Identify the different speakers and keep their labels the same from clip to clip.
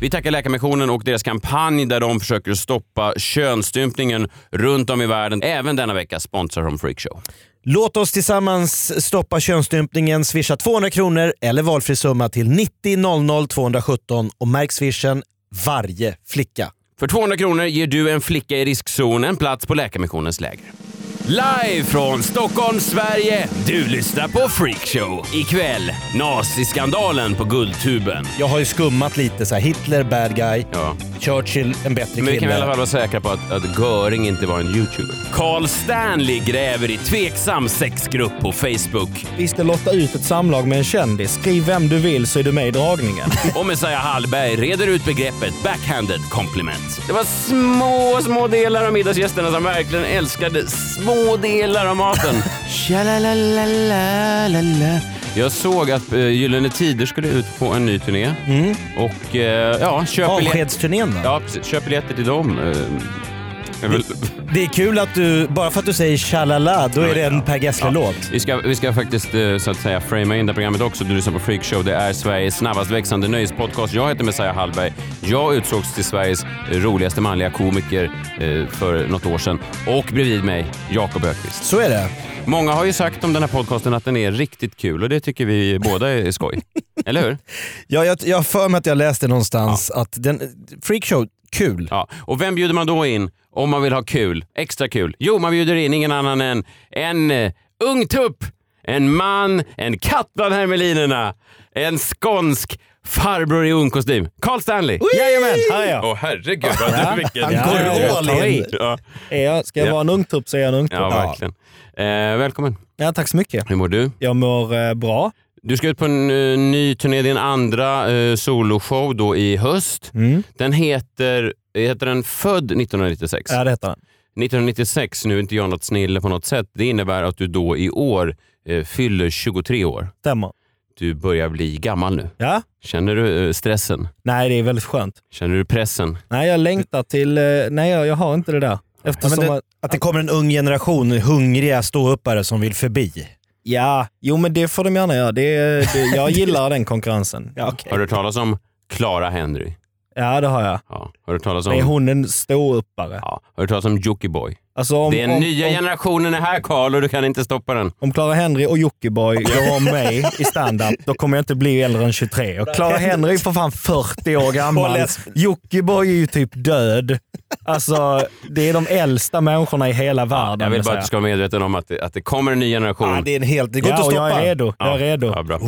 Speaker 1: Vi tackar Läkarmissionen och deras kampanj där de försöker stoppa könsstympningen runt om i världen. Även denna vecka sponsrar de Freakshow.
Speaker 2: Låt oss tillsammans stoppa könsstympningen. Swisha 200 kronor eller valfri summa till 90 00 217 och märk swishen varje flicka.
Speaker 1: För 200 kronor ger du en flicka i riskzon en plats på Läkarmissionens läger. Live från Stockholm, Sverige. Du lyssnar på Freakshow. Ikväll, naziskandalen på Guldtuben.
Speaker 2: Jag har ju skummat lite så här. Hitler bad guy,
Speaker 1: Ja.
Speaker 2: Churchill en bättre
Speaker 1: Men vi kan i alla
Speaker 2: kvinna.
Speaker 1: fall vara säkra på att, att Göring inte var en youtuber. Carl Stanley gräver i tveksam sexgrupp på Facebook.
Speaker 3: Visste Lotta ut ett samlag med en kändis? Skriv vem du vill så är du med i dragningen.
Speaker 1: Och Messiah Hallberg reder ut begreppet backhanded compliment. Det var små, små delar av middagsgästerna som verkligen älskade små delar av maten. Tjalalalalala. Jag såg att eh, Gyllene Tider skulle ut på en ny turné. Och eh, ja, köp, biljet-
Speaker 2: Avskedsturnén då?
Speaker 1: ja, precis. köp biljetter till dem. eh, är väl-
Speaker 2: Det är kul att du, bara för att du säger chalala, då är det en Per Gessle-låt.
Speaker 1: Vi ska, vi ska faktiskt eh, så att säga framea in det här programmet också. Du lyssnar på Freakshow. Det är Sveriges snabbast växande nöjespodcast. Jag heter Messiah Hallberg. Jag utsågs till Sveriges eh, roligaste manliga komiker eh, för något år sedan. Och bredvid mig, Jakob Ökvist.
Speaker 2: Så är det.
Speaker 1: Många har ju sagt om den här podcasten att den är riktigt kul och det tycker vi båda är skoj. Eller hur?
Speaker 2: Ja, jag jag har för mig att jag läste någonstans att den, freakshow, kul.
Speaker 1: Ja. Och vem bjuder man då in om man vill ha kul? Extra kul? Jo, man bjuder in ingen annan än en eh, ung tupp, en man, en katt bland hermelinerna, en skånsk farbror i ung kostym. Carl Stanley!
Speaker 3: Jajamän, här är jag.
Speaker 1: Åh herregud, vad
Speaker 3: Ja,
Speaker 1: vilken...
Speaker 3: han går
Speaker 1: Ja,
Speaker 3: all
Speaker 1: ta
Speaker 3: in.
Speaker 1: i. Ja,
Speaker 3: Är jag ska jag
Speaker 1: Ja.
Speaker 3: vara en ungtupp så är jag en ungtupp.
Speaker 1: ja verkligen. Eh, välkommen.
Speaker 3: Ja, tack så mycket.
Speaker 1: Hur mår du?
Speaker 3: Jag mår eh, bra.
Speaker 1: Du ska ut på en eh, ny turné, din andra eh, soloshow då i höst.
Speaker 3: Mm.
Speaker 1: Den heter, heter den Född 1996?
Speaker 3: Ja, det heter den.
Speaker 1: 1996, nu är inte jag något snille på något sätt, det innebär att du då i år eh, fyller 23 år.
Speaker 3: Stämmer.
Speaker 1: Du börjar bli gammal nu.
Speaker 3: Ja?
Speaker 1: Känner du eh, stressen?
Speaker 3: Nej, det är väldigt skönt.
Speaker 1: Känner du pressen?
Speaker 3: Nej, jag längtar till... eh, Nej, jag, jag har inte det där.
Speaker 2: Ja, men
Speaker 3: Eftersom...
Speaker 2: det,
Speaker 3: att-
Speaker 2: att det kommer en ung generation hungriga ståuppare som vill förbi.
Speaker 3: Ja, jo men det får de gärna göra. Det, är- det, jag gillar den konkurrensen.
Speaker 2: Ja,
Speaker 1: Har du hört talas om Clara Henry?
Speaker 3: Ja, det har jag.
Speaker 1: Ja. Har du hört talas om,
Speaker 3: Det är hon en ståuppare.
Speaker 1: ja. Har du hört talas om Jockiboi?
Speaker 3: Alltså, om,
Speaker 1: Den
Speaker 3: om,
Speaker 1: nya
Speaker 3: om,
Speaker 1: generationen är här Karl och du kan inte stoppa den.
Speaker 3: Om Clara Henry och Jockiboi gör om mig i standup, då kommer jag inte bli äldre än 23. Och Clara Henry är för fan 40 år
Speaker 2: Och
Speaker 3: gammal.
Speaker 2: lesb-
Speaker 3: Jockiboi är ju typ död. Alltså, det är de äldsta människorna i hela världen.
Speaker 1: Jag vill
Speaker 3: vill
Speaker 1: bara att
Speaker 3: säga.
Speaker 1: du ska vara medveten om att det, att det kommer en ny generation.
Speaker 2: Ja, det, är en helt, det går inte
Speaker 3: Ja,
Speaker 2: att
Speaker 3: och
Speaker 2: stoppa.
Speaker 3: jag är redo. Jag är redo.
Speaker 1: Ja, bra.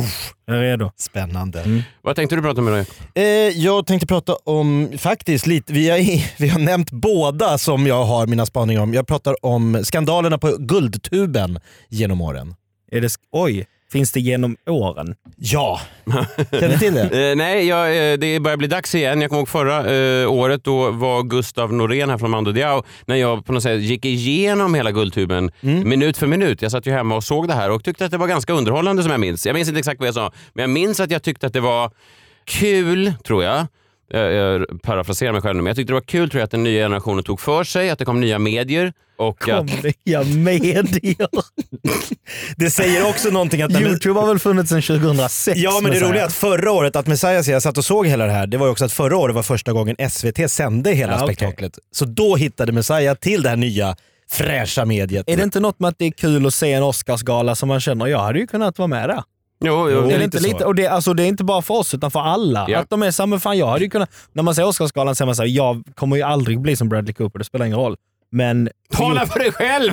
Speaker 3: Jag är redo.
Speaker 2: Spännande.
Speaker 1: Vad tänkte du prata om idag?
Speaker 2: Eh, jag tänkte prata om, faktiskt lite, vi har, vi har nämnt båda som jag har mina spaningar om. Jag pratar om skandalerna på Guldtuben genom åren.
Speaker 3: Är det, sk- oj, finns det genom åren?
Speaker 2: Ja, känner du till det?
Speaker 1: Eh, nej, jag, eh, det börjar bli dags igen. Jag kommer ihåg förra eh, året, då var Gustav Norén här från Mando Diao, när jag på något sätt gick igenom hela Guldtuben
Speaker 3: Mm.
Speaker 1: minut för minut. Jag satt ju hemma och såg det här och tyckte att det var ganska underhållande som jag minns. Jag minns inte exakt vad jag sa, men jag minns att jag tyckte att det var kul, tror jag. Jag, jag parafraserar mig själv nu, men jag tyckte det var kul tror jag, att den nya generationen tog för sig, att det kom nya medier. Och att,
Speaker 3: Om nya medier.
Speaker 2: Det säger också någonting att... nej, men-
Speaker 3: Youtube har väl funnits sedan 2006?
Speaker 2: Ja men det
Speaker 3: Messiah.
Speaker 2: roliga är att förra året, att Messiah säger, jag satt och såg hela det här, det var ju också att förra året var första gången SVT sände hela
Speaker 3: Ja, okej.
Speaker 2: spektaklet. Så då hittade Messiah till det här nya fräscha mediet.
Speaker 3: Är det inte något med att det är kul att se en Oscarsgala som man känner, jag hade ju kunnat vara med där.
Speaker 1: jo, jo,
Speaker 3: är det,
Speaker 2: lite
Speaker 3: inte
Speaker 2: så.
Speaker 3: lite, och det, alltså, det är inte bara för oss, utan för alla.
Speaker 1: Ja.
Speaker 3: Att de är så här, men fan jag hade ju kunnat... När man ser Oscarsgalan säger man såhär, jag kommer ju aldrig bli som Bradley Cooper, det spelar ingen roll. Men...
Speaker 1: Tala för dig själv,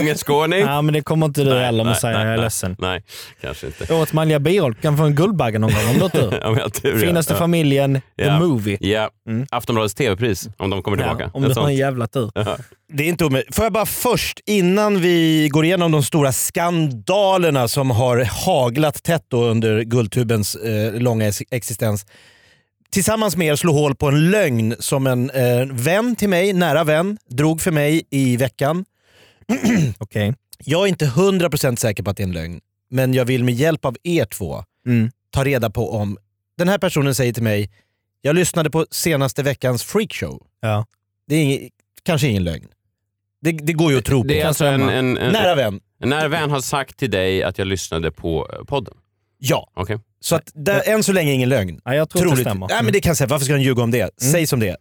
Speaker 1: ungerskåning!
Speaker 3: Nej, men det kommer inte du heller med att säga,
Speaker 1: nej,
Speaker 3: jag är
Speaker 1: nej.
Speaker 3: ledsen.
Speaker 1: Nej, kanske inte.
Speaker 3: Årets manliga biroll, Du kan få en Guldbagge någon gång om du har tur.
Speaker 1: Om jag har tur, ja.
Speaker 3: Finaste
Speaker 1: Ja.
Speaker 3: familjen,
Speaker 1: Ja.
Speaker 3: the movie.
Speaker 1: Ja, Aftonbladets TV-pris om de kommer tillbaka.
Speaker 3: Ja,
Speaker 1: Alltså,
Speaker 3: om
Speaker 1: Ett
Speaker 3: du har en
Speaker 1: sånt.
Speaker 3: jävla tur.
Speaker 2: Det är inte omöjligt. Får jag bara först, innan vi går igenom de stora skandalerna som har haglat tätt då under Guldtubens eh, långa ex- existens. Tillsammans med er slå hål på en lögn som en eh, vän till mig, nära vän, drog för mig i veckan.
Speaker 3: Okej.
Speaker 2: Jag är inte 100% säker på att det är en lögn, men jag vill med hjälp av er två
Speaker 3: Mm.
Speaker 2: ta reda på om den här personen säger till mig, jag lyssnade på senaste veckans freakshow.
Speaker 3: Ja.
Speaker 2: Det är ing- kanske ingen lögn. Det, det går ju att tro på.
Speaker 1: Det är alltså en, en, en,
Speaker 2: Nära vän.
Speaker 1: en nära vän har sagt till dig att jag lyssnade på eh, podden.
Speaker 2: Ja.
Speaker 1: Okej.
Speaker 2: Så att där, än så länge ingen lögn.
Speaker 3: Ja, jag tror att det
Speaker 2: Troligt.
Speaker 3: stämmer.
Speaker 2: Nej, men det kan jag säga. Varför ska han ljuga om det?
Speaker 3: Mm.
Speaker 2: Säg som det är.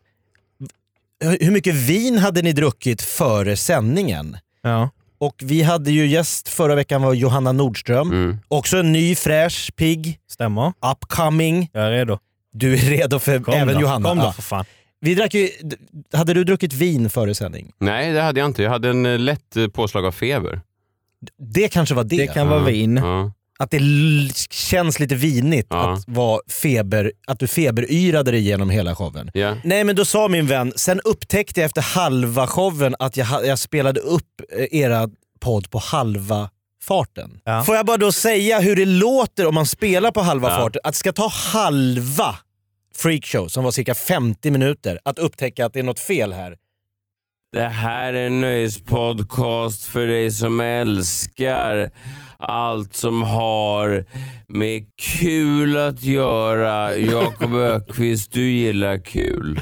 Speaker 2: Hur- Hur mycket vin hade ni druckit före sändningen?
Speaker 3: Mm. Ja.
Speaker 2: Och vi hade ju gäst förra veckan var Johanna Nordström.
Speaker 1: Mm.
Speaker 2: Också en ny, fräsch, pigg,
Speaker 3: Stämmer.
Speaker 2: upcoming.
Speaker 3: Jag är redo.
Speaker 2: Du är redo för
Speaker 3: Kom
Speaker 2: även
Speaker 3: då.
Speaker 2: Johanna.
Speaker 3: Kom då
Speaker 2: Ja.
Speaker 3: för fan.
Speaker 2: Vi drack ju, d- hade du druckit vin före sändning?
Speaker 1: Nej, det hade jag inte. Jag hade en eh, lätt eh, påslag av feber.
Speaker 2: Det kanske var det.
Speaker 3: Det kan vara vin.
Speaker 1: Ja.
Speaker 2: Att det l- känns lite vinigt
Speaker 1: Ja.
Speaker 2: att, vara feber, att du feberyrade dig genom hela showen.
Speaker 1: Ja.
Speaker 2: Nej men då sa min vän, sen upptäckte jag efter halva showen att jag, ha- jag spelade upp eh, era podd på halva farten.
Speaker 3: Ja.
Speaker 2: Får jag bara då säga hur det låter om man spelar på halva
Speaker 1: Ja.
Speaker 2: farten? Att det ska ta halva freakshow, som var cirka 50 minuter, att upptäcka att det är något fel här.
Speaker 1: Det här är en nöjespodcast för dig som älskar allt som har med kul att göra. Jakob Ökvist, du gillar kul.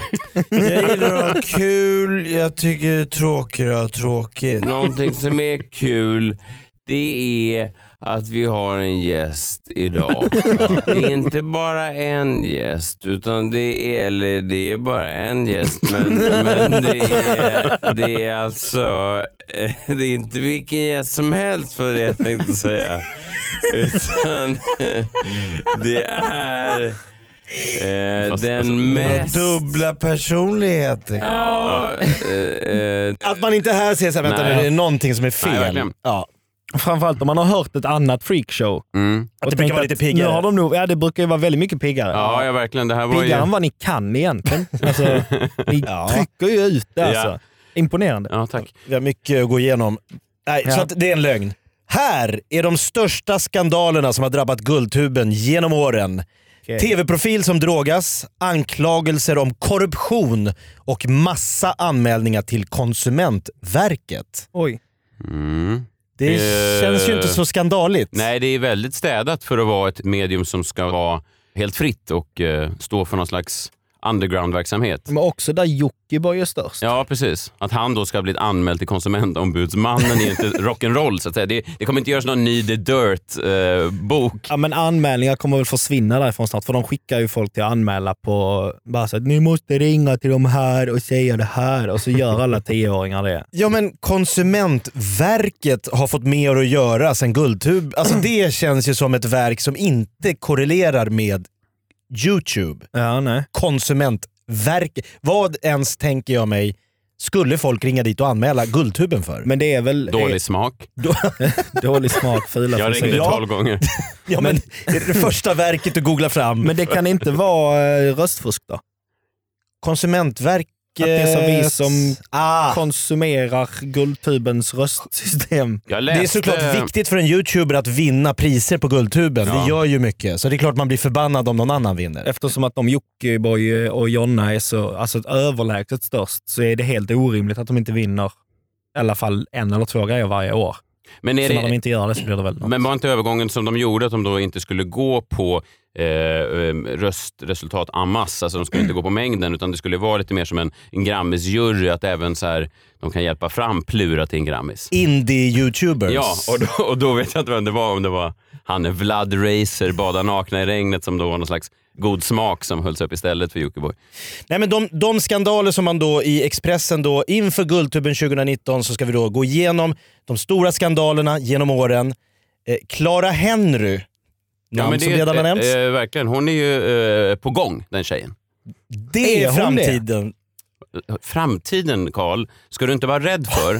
Speaker 2: Jag gillar att ha kul, jag tycker det är tråkigt att ha tråkigt.
Speaker 1: Någonting som är kul, det är att vi har en gäst idag. Det är inte bara en gäst, utan det är, eller det är bara en gäst, men, men det, är, det är alltså, eh, det är inte vilken gäst som helst för det jag tänkte säga. Utan eh, det är eh, den mest...
Speaker 2: Dubbla personligheter.
Speaker 1: Ja, eh, eh,
Speaker 2: Att man inte här ser såhär, vänta
Speaker 1: Nej.
Speaker 2: nu, det är någonting som är
Speaker 1: Nej,
Speaker 2: fel.
Speaker 1: verkligen.
Speaker 2: ja.
Speaker 3: Framförallt om man har hört ett annat freakshow.
Speaker 1: mm.
Speaker 2: Att
Speaker 3: tänkt
Speaker 2: det brukar vara
Speaker 3: att
Speaker 2: lite piggare.
Speaker 3: Nu har de nog, ja det brukar ju vara väldigt mycket piggare.
Speaker 1: Ja, ja, verkligen. Det här var ju...
Speaker 3: Piggare än vad ni kan egentligen. Alltså, ni
Speaker 2: Ja.
Speaker 3: trycker ju ut det alltså.
Speaker 1: Ja.
Speaker 3: Imponerande.
Speaker 1: Ja, tack.
Speaker 2: Vi har mycket att gå igenom. Nej,
Speaker 3: Ja.
Speaker 2: Så att det är en lögn. Här är de största skandalerna som har drabbat Guldtuben genom åren.
Speaker 3: Okej.
Speaker 2: TV-profil som drogas, anklagelser om korruption och massa anmälningar till Konsumentverket.
Speaker 3: Oj.
Speaker 2: Det
Speaker 1: Eh.
Speaker 2: känns ju inte så skandaligt.
Speaker 1: Nej, det är väldigt städat för att vara ett medium som ska vara helt fritt och eh, stå för någon slags underground-verksamhet.
Speaker 3: Men också där Jockiboi är störst.
Speaker 1: Ja, precis. Att han då ska ha blivit anmäld till konsumentombudsmannen är ju inte rock'n'roll. Så att säga. Det, det kommer inte göras någon ny The eh, Dirt-bok.
Speaker 3: Ja men anmälningar kommer väl försvinna därifrån snart, för de skickar ju folk till att anmäla på bara så att ni måste ringa till de här och säga det här och så gör alla tioåringar det.
Speaker 2: Ja men Konsumentverket har fått mer att göra sen Guldtub. Alltså det känns ju som ett verk som inte korrelerar med Youtube.
Speaker 3: Ja, nej.
Speaker 2: Konsumentverket. Vad ens tänker jag mig skulle folk ringa dit och anmäla Guldtuben för?
Speaker 3: Men det är väl
Speaker 1: Dålig smak.
Speaker 3: det- dålig smak, fula
Speaker 1: Jag
Speaker 3: frisyrer.
Speaker 1: ringde
Speaker 2: Ja.
Speaker 1: tolv gånger.
Speaker 2: ja, men, det är det första verket du googlar fram.
Speaker 3: Men det kan inte vara eh, röstfusk då?
Speaker 2: Konsumentverket...
Speaker 3: Att det är som vi som-
Speaker 2: Ah,
Speaker 3: Konsumerar Guldtubens röstsystem.
Speaker 1: Jag
Speaker 2: det
Speaker 1: läste...
Speaker 2: är såklart viktigt för en youtuber att vinna priser på Guldtuben.
Speaker 1: Ja.
Speaker 2: Det gör ju mycket. Så det är klart man blir förbannad om någon annan vinner.
Speaker 3: Eftersom att de Jockiboi och Jonna är så alltså, överlägset störst så är det helt orimligt att de inte vinner i alla fall en eller två grejer varje år.
Speaker 1: Men, är
Speaker 3: Så när de
Speaker 1: det,
Speaker 3: inte gör det så blir det väl något.
Speaker 1: men var inte övergången som de gjorde att de då inte skulle gå på eh, eh, röstresultat amas, alltså de skulle inte gå på mängden utan det skulle vara lite mer som en, en Grammisjury, att även så här, de kan hjälpa fram Plura till en Grammis.
Speaker 2: Indie-youtubers.
Speaker 1: Ja, och då, och då vet jag inte vem det var, om det var han är Vlad Racer, bada nakna i regnet som då var någon slags god smak som hölls upp istället för Jockiboi.
Speaker 2: Nej, men de, de skandaler som man då i Expressen då inför Guldtuben 2019 så ska vi då gå igenom de stora skandalerna genom åren. Eh, Clara Henry, namn som
Speaker 1: det-
Speaker 2: redan har nämnts.
Speaker 1: eh, eh, verkligen, hon är ju eh, på gång den tjejen.
Speaker 2: det
Speaker 3: är
Speaker 2: är
Speaker 3: hon
Speaker 2: framtiden.
Speaker 1: Framtiden Karl, ska du inte vara rädd för.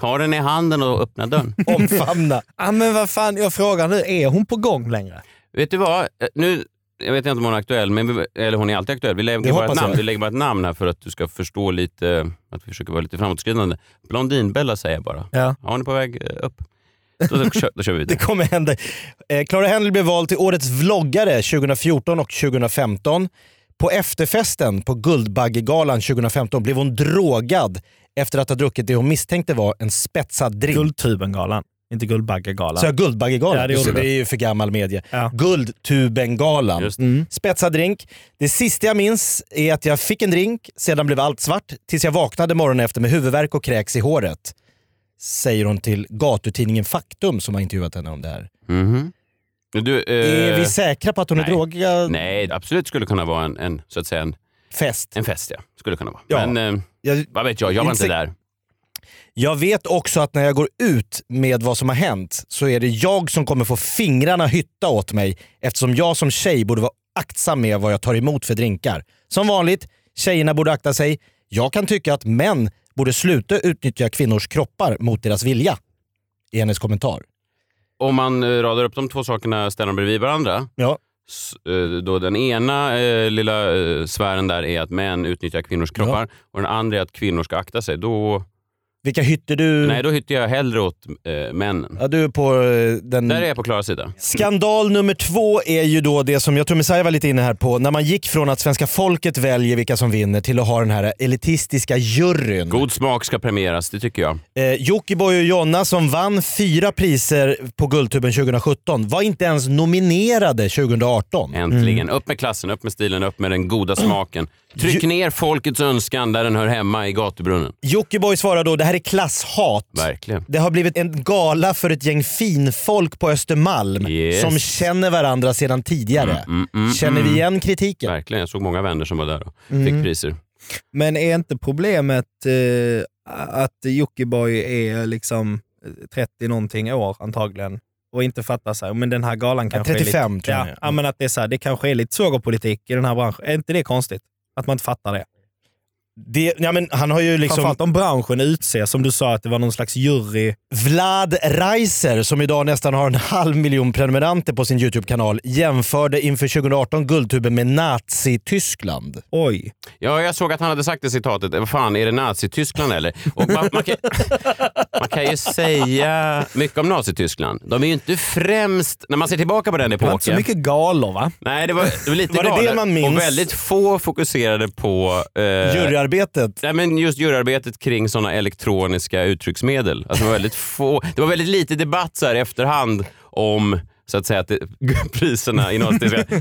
Speaker 1: Ta den i handen och öppna dörren.
Speaker 2: Omfamna.
Speaker 3: Ja men vad fan, jag frågar nu, är hon på gång längre?
Speaker 1: Vet du vad? Eh, Nu, jag vet inte om hon är aktuell, men vi, eller hon är alltid aktuell. Vi lägger,
Speaker 2: Det
Speaker 1: bara ett
Speaker 2: hoppas jag.
Speaker 1: namn. vi lägger bara ett namn här för att du ska förstå lite, att vi försöker vara lite framåtskridande. Blondinbella säger jag bara.
Speaker 3: Ja.
Speaker 1: hon är på väg eh, upp. Så, då, kör, då kör vi
Speaker 2: Det
Speaker 1: vidare.
Speaker 2: kommer hända. Eh, Clara Henry blev vald till årets vloggare 2014 och 2015. På efterfesten på Guldbaggegalan 2015 blev hon drogad efter att ha druckit det hon misstänkte var en spetsad drink.
Speaker 3: Guldtubengalan. Inte Guldbaggegalan.
Speaker 2: Så jag Guldbaggegalan?
Speaker 3: Ja, det
Speaker 2: Just
Speaker 3: gjorde
Speaker 2: det
Speaker 3: du.
Speaker 2: är ju för gammal media.
Speaker 3: Ja.
Speaker 2: Guldtubengalan.
Speaker 1: Just.
Speaker 2: Mm. Spetsad drink. Det sista jag minns är att jag fick en drink, sedan blev allt svart, tills jag vaknade morgonen efter med huvudvärk och kräks i håret. Säger hon till gatutidningen Faktum som har intervjuat henne om det här.
Speaker 1: Mhm. Du, eh,
Speaker 2: är vi säkra på att hon är
Speaker 1: nej.
Speaker 2: drogad?
Speaker 1: Nej, det absolut skulle kunna vara en, en, så att säga en,
Speaker 2: Fest.
Speaker 1: en fest. Ja. Skulle kunna vara.
Speaker 2: Ja.
Speaker 1: Men eh,
Speaker 2: Jag,
Speaker 1: vad vet jag, jag var
Speaker 2: Inte
Speaker 1: inte
Speaker 2: säk-
Speaker 1: där.
Speaker 2: jag vet också att när jag går ut med vad som har hänt så är det jag som kommer få fingrarna hytta åt mig eftersom jag som tjej borde vara aktsam med vad jag tar emot för drinkar. Som vanligt, tjejerna borde akta sig. Jag kan tycka att män borde sluta utnyttja kvinnors kroppar mot deras vilja. I hennes kommentar.
Speaker 1: Om man eh, radar upp de två sakerna ställer dem bredvid varandra.
Speaker 2: Ja.
Speaker 1: S- eh, Då den ena eh, lilla eh, sfären där är att män utnyttjar kvinnors kroppar och den andra är att kvinnor ska akta sig. Då,
Speaker 2: Vilka hytter du...
Speaker 1: Nej, då hyttar jag hellre åt eh, männen.
Speaker 2: Ja, du är på eh, den...
Speaker 1: Där är jag på Klaras sida.
Speaker 2: Skandal nummer två är ju då det som jag tror Messiah var lite inne här på, när man gick från att svenska folket väljer vilka som vinner till att ha den här elitistiska juryn.
Speaker 1: God smak ska premieras, det tycker jag.
Speaker 2: Eh, Jockiboi och Jonna som vann fyra priser på Guldtuben 2017 var inte ens nominerade 2018.
Speaker 1: Äntligen. Upp med klassen, upp med stilen, upp med den goda smaken. Tryck ner folkets önskan där den hör hemma i gatubrunnen.
Speaker 2: Jockiboi svarar då det här är klasshat.
Speaker 1: Verkligen.
Speaker 2: Det har blivit en gala för ett gäng finfolk på Östermalm
Speaker 1: Yes. Mm,
Speaker 2: som känner varandra sedan tidigare. känner vi igen kritiken?
Speaker 1: Verkligen. Jag såg många vänner som var där och fick priser.
Speaker 3: Men är inte problemet eh, att Jockiboi är liksom 30 någonting år antagligen och inte fattar så här, men den här galan kanske är
Speaker 2: 35
Speaker 3: lite...
Speaker 2: tror jag.
Speaker 3: ja, ja, men att det, är så här, det kanske är lite svågerpolitik i den här branschen. Är inte det konstigt? Att man inte fattar det.
Speaker 2: Det, ja, men han har ju liksom
Speaker 3: Framförallt om branschen utser, som du sa, att det var någon slags jury.
Speaker 2: Vlad Reiser, som idag nästan har en halv miljon prenumeranter på sin YouTube-kanal, jämförde inför 2018 Guldtuben med Nazi-Tyskland.
Speaker 3: Oj.
Speaker 1: Ja, jag såg att han hade sagt det citatet. Vad fan, är det Nazityskland eller? Och man, man, kan, man kan ju säga mycket om Nazityskland. De är ju inte främst, när man ser tillbaka på den
Speaker 3: Det var inte så
Speaker 1: epoken.
Speaker 3: mycket galor va?
Speaker 1: Nej, det var, det var lite
Speaker 2: Var det det
Speaker 1: galet.
Speaker 2: man minns?
Speaker 1: Och väldigt få fokuserade på eh,
Speaker 2: Juryarbetet.
Speaker 1: Nej, men just juryarbetet kring sådana elektroniska uttrycksmedel. Alltså, det, var väldigt få, det var väldigt lite debatt så här i efterhand om så att säga att det, priserna i något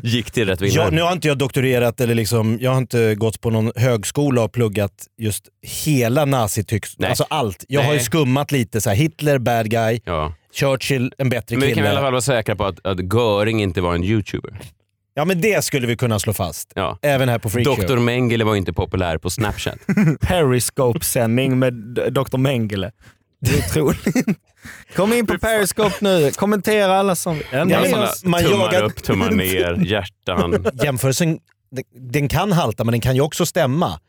Speaker 1: gick till rätt vinnare.
Speaker 2: Jag, nu har inte jag doktorerat eller liksom, jag har inte gått på någon högskola och pluggat just hela Nazi-Tyskland.
Speaker 1: Nej.
Speaker 2: Alltså allt. Jag har ju
Speaker 1: Nej.
Speaker 2: skummat lite. Så här, Hitler, bad guy.
Speaker 1: ja.
Speaker 2: Churchill, en bättre
Speaker 1: Men vi kan i alla
Speaker 2: kille.
Speaker 1: fall vara säkra på att, att Göring inte var en youtuber.
Speaker 2: Ja men det skulle vi kunna slå fast.
Speaker 1: Ja.
Speaker 2: Även här på Freakshow.
Speaker 1: Dr Mengele var inte populär på Snapchat.
Speaker 3: Periscope-sändning med d- Dr Mengele. Det är otroligt. Kom in på Periscope nu. Kommentera alla som...
Speaker 2: Ja,
Speaker 1: Alla
Speaker 2: men
Speaker 1: sådana
Speaker 2: jag- man
Speaker 1: tummar
Speaker 2: jagar-
Speaker 1: upp, tummar ner, hjärtan.
Speaker 2: jämförelsen den- den kan halta men den kan ju också stämma.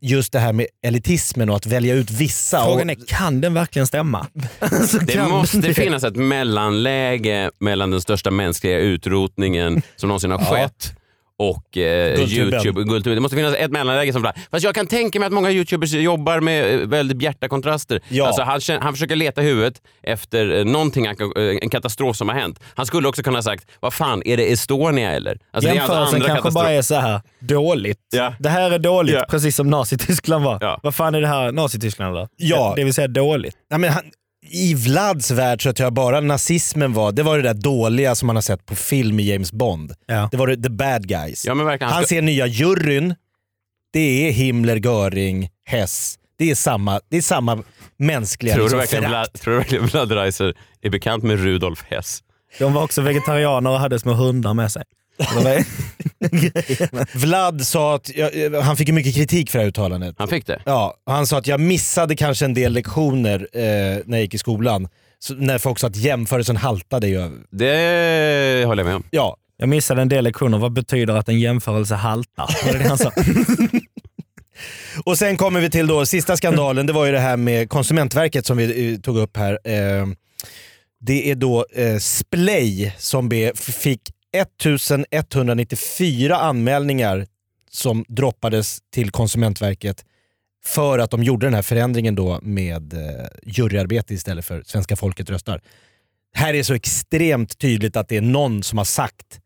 Speaker 2: Just det här med elitismen och att välja ut vissa.
Speaker 3: Frågan
Speaker 2: och,
Speaker 3: är, kan den verkligen stämma? Alltså,
Speaker 1: Det
Speaker 3: kan
Speaker 1: måste finnas ett mellanläge mellan den största mänskliga utrotningen som någonsin har skett och eh,
Speaker 2: Guldtuben.
Speaker 1: Youtube. Guldtuben. Det måste finnas ett mellanläge. Som, fast jag kan tänka mig att många Youtubers jobbar med eh, väldigt bjärta kontraster.
Speaker 2: Ja.
Speaker 1: Alltså, han, kän- han försöker leta huvudet efter eh, någonting, han kan- eh, en katastrof som har hänt. Han skulle också kunna ha sagt, vad fan, är det Estonia eller? Alltså, det är hans
Speaker 3: Jämförelsen
Speaker 1: andra
Speaker 3: kanske
Speaker 1: katastrof.
Speaker 3: bara är så här dåligt.
Speaker 1: Ja.
Speaker 3: Det här är dåligt,
Speaker 1: Ja.
Speaker 3: precis som Nazityskland var.
Speaker 1: Ja.
Speaker 3: Vad fan är det här Nazityskland då?
Speaker 2: Ja.
Speaker 3: Det vill säga dåligt.
Speaker 2: nej, men han, I Vlads värld så tror jag bara nazismen var, det var det där dåliga som man har sett på film i James Bond.
Speaker 3: Ja.
Speaker 2: Det var det, the bad guys.
Speaker 1: Ja, men verkligen. Han
Speaker 2: han
Speaker 1: ska,
Speaker 2: ser nya juryn, det är Himmler, Göring, Hess. Det är samma, det är samma mänskliga
Speaker 1: tror, du
Speaker 2: liksom,
Speaker 1: verkligen
Speaker 2: förakt.
Speaker 1: Vlad, tror du verkligen Vlad Reiser är bekant med Rudolf Hess?
Speaker 3: De var också vegetarianer och hade små hundar med sig. Det var-
Speaker 2: Vlad sa att, ja, eh, han fick ju mycket kritik för det här uttalandet.
Speaker 1: Han fick det.
Speaker 2: Ja, och han sa att jag missade kanske en del lektioner eh, när jag gick i skolan. Så, när folk sa att jämförelsen haltade ju. över-
Speaker 1: Det håller jag med om.
Speaker 2: Ja,
Speaker 3: Jag missade en del lektioner. Vad betyder att en jämförelse haltar? Var det det han sa?
Speaker 2: och sen kommer vi till då sista skandalen. Det var ju det här med Konsumentverket som vi eh, tog upp här. Eh, det är då eh, Splay som be, fick 1194 anmälningar som droppades till Konsumentverket för att de gjorde den här förändringen då med eh, juryarbete istället för svenska folket röstar. Här är så extremt tydligt att det är någon som har sagt,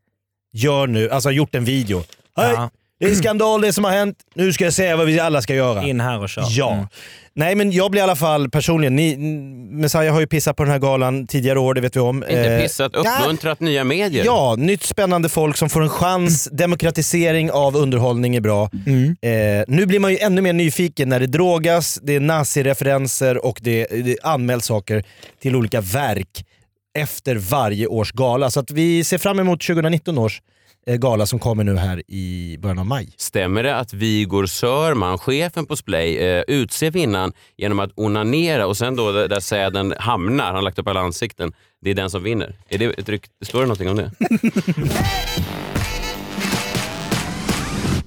Speaker 2: gör nu, alltså har gjort en video. Hej,
Speaker 3: Ja.
Speaker 2: Det är skandal det som har hänt. Nu ska jag säga vad vi alla ska göra.
Speaker 3: In här och kör.
Speaker 2: Ja.
Speaker 3: Mm.
Speaker 2: Nej men jag blir i alla fall personligen, ni, n- Messiah har ju pissat på den här galan tidigare år, det vet vi om.
Speaker 1: Inte
Speaker 2: Eh,
Speaker 1: pissat,
Speaker 2: ja.
Speaker 1: uppmuntrat nya medier.
Speaker 2: Ja, nytt spännande folk som får en chans. Demokratisering av underhållning är bra. Eh, nu blir man ju ännu mer nyfiken när det drogas, det är nazireferenser och det, det anmäls saker till olika verk efter varje års gala. Så att vi ser fram emot 2019 års eh, gala som kommer nu här i början av maj.
Speaker 1: Stämmer det att Vigor Sörman, chefen på Splay, eh, utser vinnaren genom att onanera och sen då där, där säden hamnar, han har lagt upp alla ansikten, det är den som vinner? Är det ett rykt, står det någonting om det?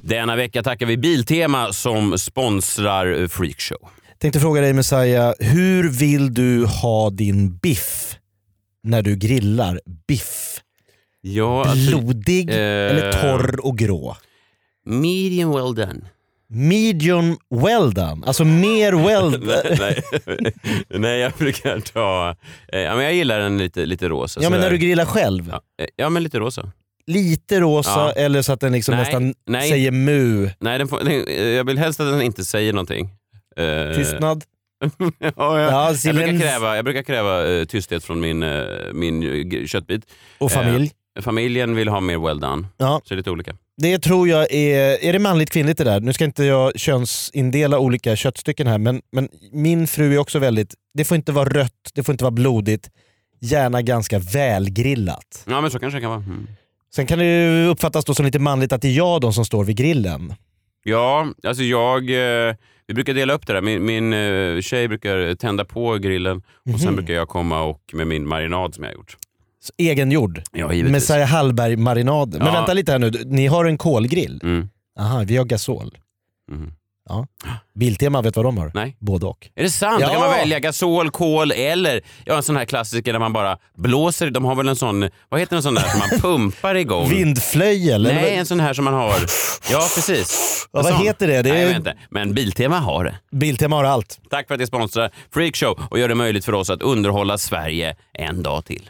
Speaker 1: Denna vecka tackar vi Biltema som sponsrar eh, Freakshow.
Speaker 2: Tänkte fråga dig Messiah, hur vill du ha din biff när du grillar? Biff?
Speaker 1: Ja, alltså,
Speaker 2: Blodig
Speaker 1: eh,
Speaker 2: eller torr och grå?
Speaker 1: medium well done.
Speaker 2: Medium well done, alltså mer well
Speaker 1: nej, nej. nej, jag brukar ta... Eh, ja, men jag gillar den lite, lite rosa.
Speaker 2: Ja men när
Speaker 1: sådär.
Speaker 2: du grillar själv,
Speaker 1: Ja, eh, ja, men lite rosa.
Speaker 2: lite rosa
Speaker 1: Ja.
Speaker 2: eller så att den liksom
Speaker 1: Nej,
Speaker 2: nästan
Speaker 1: nej.
Speaker 2: säger mu.
Speaker 1: Nej, den får, den, eh, jag vill helst att den inte säger någonting. Eh,
Speaker 2: Tystnad.
Speaker 1: ja, jag,
Speaker 2: Ja,
Speaker 1: jag, brukar
Speaker 2: silens.
Speaker 1: kräva, jag brukar kräva eh, tysthet från min, eh, min eh, g- köttbit.
Speaker 2: Och familj.
Speaker 1: eh, Familjen vill ha mer well done.
Speaker 2: Ja.
Speaker 1: Så det är lite olika.
Speaker 2: Det tror jag är, är det manligt kvinnligt det där? Nu ska inte jag könsindela olika köttstycken här men, men min fru är också väldigt, det får inte vara rött, det får inte vara blodigt, gärna ganska välgrillat.
Speaker 1: Ja, men så kanske det kan vara. Mm.
Speaker 2: Sen kan det ju uppfattas då som lite manligt att det är jag då som står vid grillen.
Speaker 1: Ja, alltså jag... Eh, vi brukar dela upp det där. Min, min eh, tjej brukar tända på grillen och
Speaker 2: Mhm.
Speaker 1: sen brukar jag komma och med min marinad som jag har gjort.
Speaker 2: Så Egengjord.
Speaker 1: Ja,
Speaker 2: Messiah Hallberg-marinaden. Men
Speaker 1: Ja.
Speaker 2: vänta lite här nu, ni har en kolgrill?
Speaker 1: Mm.
Speaker 2: Aha, vi har gasol.
Speaker 1: Mm.
Speaker 2: Biltema, vet vad de har?
Speaker 1: Nej.
Speaker 2: Både och.
Speaker 1: Är det sant? Då kan
Speaker 2: Ja!
Speaker 1: man välja gasol, kol eller ja, en sån här klassiker där man bara blåser. De har väl en sån, vad heter en sån där som man pumpar igång?
Speaker 2: Vindflöjel? eller
Speaker 1: Nej, en sån här som man har. Ja, precis.
Speaker 2: Ja, vad
Speaker 1: En sån.
Speaker 2: heter det? Det är-
Speaker 1: Nej, jag vet inte. Men Biltema har det.
Speaker 2: vad? Biltema har allt.
Speaker 1: Tack för att ni sponsrar Freakshow och gör det möjligt för oss att underhålla Sverige en dag till.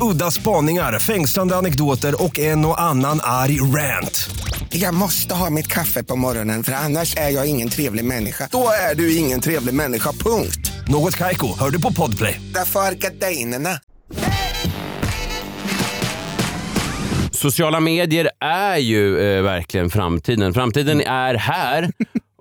Speaker 4: Udda spaningar, fängslande anekdoter och en och annan arg rant.
Speaker 5: Jag måste ha mitt kaffe på morgonen för annars är jag ingen trevlig människa. Då är du ingen trevlig människa, punkt.
Speaker 4: Något Kaiko, hör du på Podplay.
Speaker 5: Därför är gardinerna.
Speaker 1: Sociala medier är ju eh, verkligen framtiden. Framtiden är här.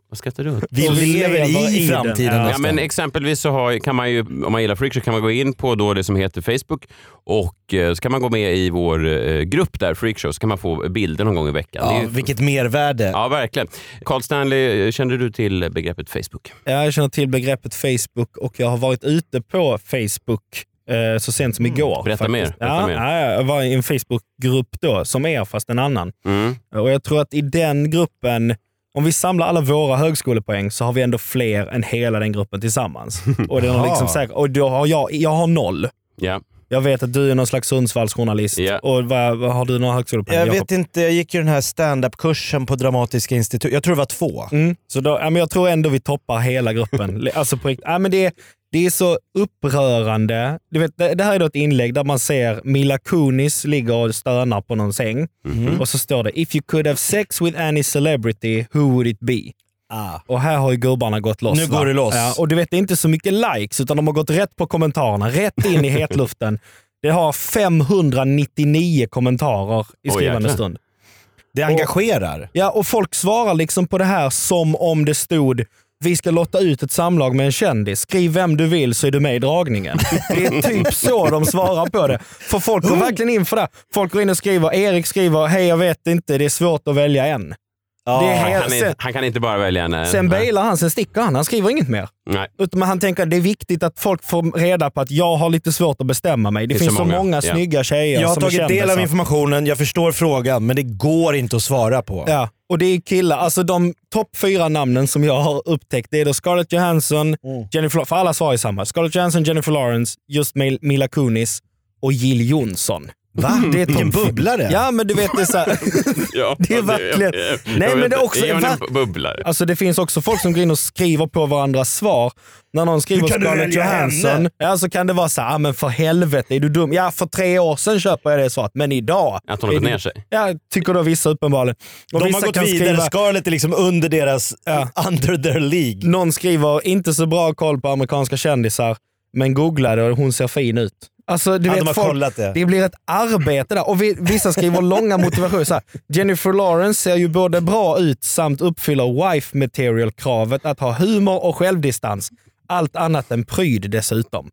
Speaker 1: Vad skrattar du åt?
Speaker 2: Vi
Speaker 3: Och vi lever
Speaker 2: lever i
Speaker 3: i den.
Speaker 2: framtiden.
Speaker 3: Ja.
Speaker 1: Ja,
Speaker 2: nästan.
Speaker 1: men exempelvis så har, kan man ju, om man gillar Freak så kan man gå in på då det som heter Facebook och eh, så kan man gå med i vår eh, grupp där, Freakshow, så kan man få bilder någon gång i veckan. Det är
Speaker 2: ja,
Speaker 1: ju-
Speaker 2: vilket mervärde.
Speaker 1: ja verkligen. Carl Stanley, eh, kände du till begreppet Facebook?
Speaker 3: Jag känner till begreppet Facebook och jag har varit ute på Facebook eh, så sent som
Speaker 2: Mm.
Speaker 3: igår.
Speaker 1: Berätta
Speaker 3: faktiskt.
Speaker 1: mer, berätta
Speaker 3: ja,
Speaker 1: mer.
Speaker 3: ja, jag var i en Facebookgrupp då, som er fast en annan. Och Jag tror att i den gruppen, om vi samlar alla våra högskolepoäng så har vi ändå fler än hela den gruppen tillsammans. Och, den har liksom säkert, och då har jag, jag har noll.
Speaker 1: Ja.
Speaker 3: Jag vet att du är någon slags Sundsvallsjournalist.
Speaker 1: Ja.
Speaker 3: Och vad, vad har du några högskolepoäng?
Speaker 2: Jag
Speaker 3: Jakob?
Speaker 2: vet inte, jag gick ju den här standup-kursen på Dramatiska institutet. Jag tror det var två.
Speaker 3: Mm. Så då, ja, men jag tror ändå vi toppar hela gruppen. alltså på, rikt- ja, men det, är- det är så upprörande. Du vet, det, det här är då ett inlägg där man ser Mila Kunis ligga och stönar på någon säng.
Speaker 2: Mhm.
Speaker 3: Och så står det “If you could have sex with any celebrity, who would it be?”
Speaker 2: Ah.
Speaker 3: Och här har ju gubbarna gått loss.
Speaker 2: Nu går det loss.
Speaker 3: Ja, och du vet, det är inte så mycket likes, utan de har gått rätt på kommentarerna. Rätt in i hetluften. Det har 599 kommentarer i
Speaker 1: Oj,
Speaker 3: skrivande
Speaker 1: jäklar.
Speaker 3: stund.
Speaker 2: Det engagerar.
Speaker 3: Ja, och folk svarar liksom på det här som om det stod vi ska lotta ut ett samlag med en kändis. Skriv vem du vill så är du med i dragningen. Det är typ så de svarar på det. För folk går verkligen in för det. Folk går in och skriver, Erik skriver, hej jag vet inte, det är svårt att välja en.
Speaker 2: Ja,
Speaker 3: det är helt,
Speaker 1: Han, är,
Speaker 3: sen,
Speaker 1: han kan inte bara välja en... eh,
Speaker 3: sen
Speaker 1: nej.
Speaker 3: bailar han, sen sticker han. Han skriver inget mer.
Speaker 1: Nej.
Speaker 3: Utan han tänker att det är viktigt att folk får reda på att jag har lite svårt att bestämma mig. Det, finns så många,
Speaker 1: ja.
Speaker 3: snygga tjejer
Speaker 2: Jag har
Speaker 3: som alltså. är
Speaker 2: tagit del av
Speaker 3: kändisar.
Speaker 2: informationen, jag förstår frågan, men det går inte att svara på.
Speaker 3: Ja, och det är killar. Alltså de topp fyra namnen som jag har upptäckt, det är då Scarlett Johansson,
Speaker 2: Mm.
Speaker 3: Jennifer, för alla svarar ju samma. Scarlett Johansson, Jennifer Lawrence, just Mil- Mila Kunis och Jill Johnson.
Speaker 2: Va? Det är Vilken bubblare.
Speaker 3: Ja, men du vet det är så här,
Speaker 1: Ja,
Speaker 3: Det är verkligen-
Speaker 1: jag- jag
Speaker 3: Nej,
Speaker 1: vet
Speaker 3: men det är också-
Speaker 1: Ge honom
Speaker 3: va?
Speaker 1: en bubblar.
Speaker 3: Alltså det finns också folk som går in och skriver på varandras svar. När någon skriver
Speaker 2: Hur kan du
Speaker 3: Scarlett
Speaker 2: välja
Speaker 3: Johansson,
Speaker 2: henne?
Speaker 3: ja, så kan det vara så här, "Ah, men för helvete är du dum? Ja, för tre år sedan köper jag det svaret, men idag.
Speaker 1: Att hon har
Speaker 3: är
Speaker 1: gått
Speaker 3: du-
Speaker 1: ner sig.
Speaker 3: Ja, tycker då vissa uppenbarligen. Och
Speaker 2: De
Speaker 3: vissa
Speaker 2: har gått
Speaker 3: kan
Speaker 2: vidare,
Speaker 3: skriva-
Speaker 2: Scarlett är liksom under deras, under their League.
Speaker 3: någon skriver inte så bra koll på amerikanska kändisar, men googlade och hon ser fin ut. Alltså, du
Speaker 2: Ja,
Speaker 3: vet,
Speaker 2: de har
Speaker 3: folk,
Speaker 2: kollat det.
Speaker 3: blir ett arbete där. Och vi, vissa skriver långa motivationer. Så här, Jennifer Lawrence ser ju både bra ut samt uppfyller wife material-kravet att ha humor och självdistans. Allt annat än pryd dessutom.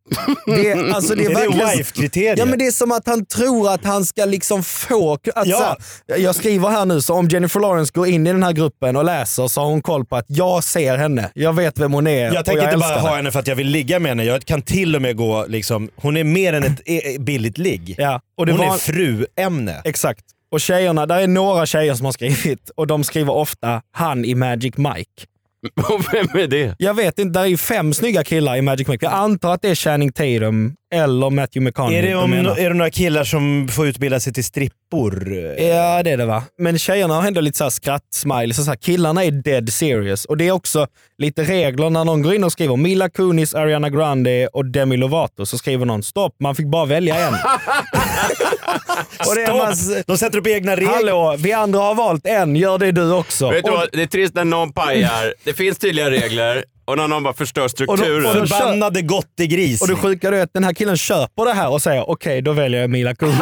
Speaker 3: Det, är- alltså, det är
Speaker 2: Är det
Speaker 3: verkligen-
Speaker 2: wife-kriteriet?
Speaker 3: Ja, men det är som att han tror att han ska liksom få... Att
Speaker 2: Ja.
Speaker 3: så här, jag skriver här nu, så om Jennifer Lawrence går in i den här gruppen och läser så har hon koll på att jag ser henne. Jag vet vem hon är
Speaker 2: Jag
Speaker 3: och
Speaker 2: tänker
Speaker 3: jag
Speaker 2: inte bara
Speaker 3: älskar
Speaker 2: ha
Speaker 3: henne.
Speaker 2: henne för att jag vill ligga med henne. Jag kan till och med gå liksom, hon är mer än ett e- billigt ligg.
Speaker 3: Ja, och det
Speaker 2: Hon
Speaker 3: var,
Speaker 2: är fruämne.
Speaker 3: Exakt. Och tjejerna, där är några tjejer som har skrivit och de skriver ofta han i Magic Mike.
Speaker 1: Och Vem är det?
Speaker 3: Jag vet inte, där är ju fem snygga killar i Magic Mike. Jag antar att det är Channing Tatum eller Matthew McConaughey.
Speaker 2: Är det,
Speaker 3: de
Speaker 2: om,
Speaker 3: menar.
Speaker 2: är det några killar som får utbilda sig till strippor?
Speaker 3: Ja, det är det va. Men tjejerna har ändå lite så här skratt-smileys. och Så här, killarna är dead serious. Och det är också lite regler när någon går in och skriver Mila Kunis, Ariana Grande och Demi Lovato. Så skriver någon stopp, man fick bara välja en. och det är
Speaker 2: Stopp!
Speaker 3: man, s-
Speaker 2: De sätter upp egna regler.
Speaker 3: Hallå, vi andra har valt en, gör det du också.
Speaker 1: Vet du
Speaker 3: Och-
Speaker 1: vad? Det är trist när någon pajar. Det finns tydliga regler och när någon bara förstör strukturen.
Speaker 3: och de-
Speaker 2: Förbannade gottegris.
Speaker 3: Och det sjuka är att den här killen köper det här och säger okej, då väljer jag Mila Kunis.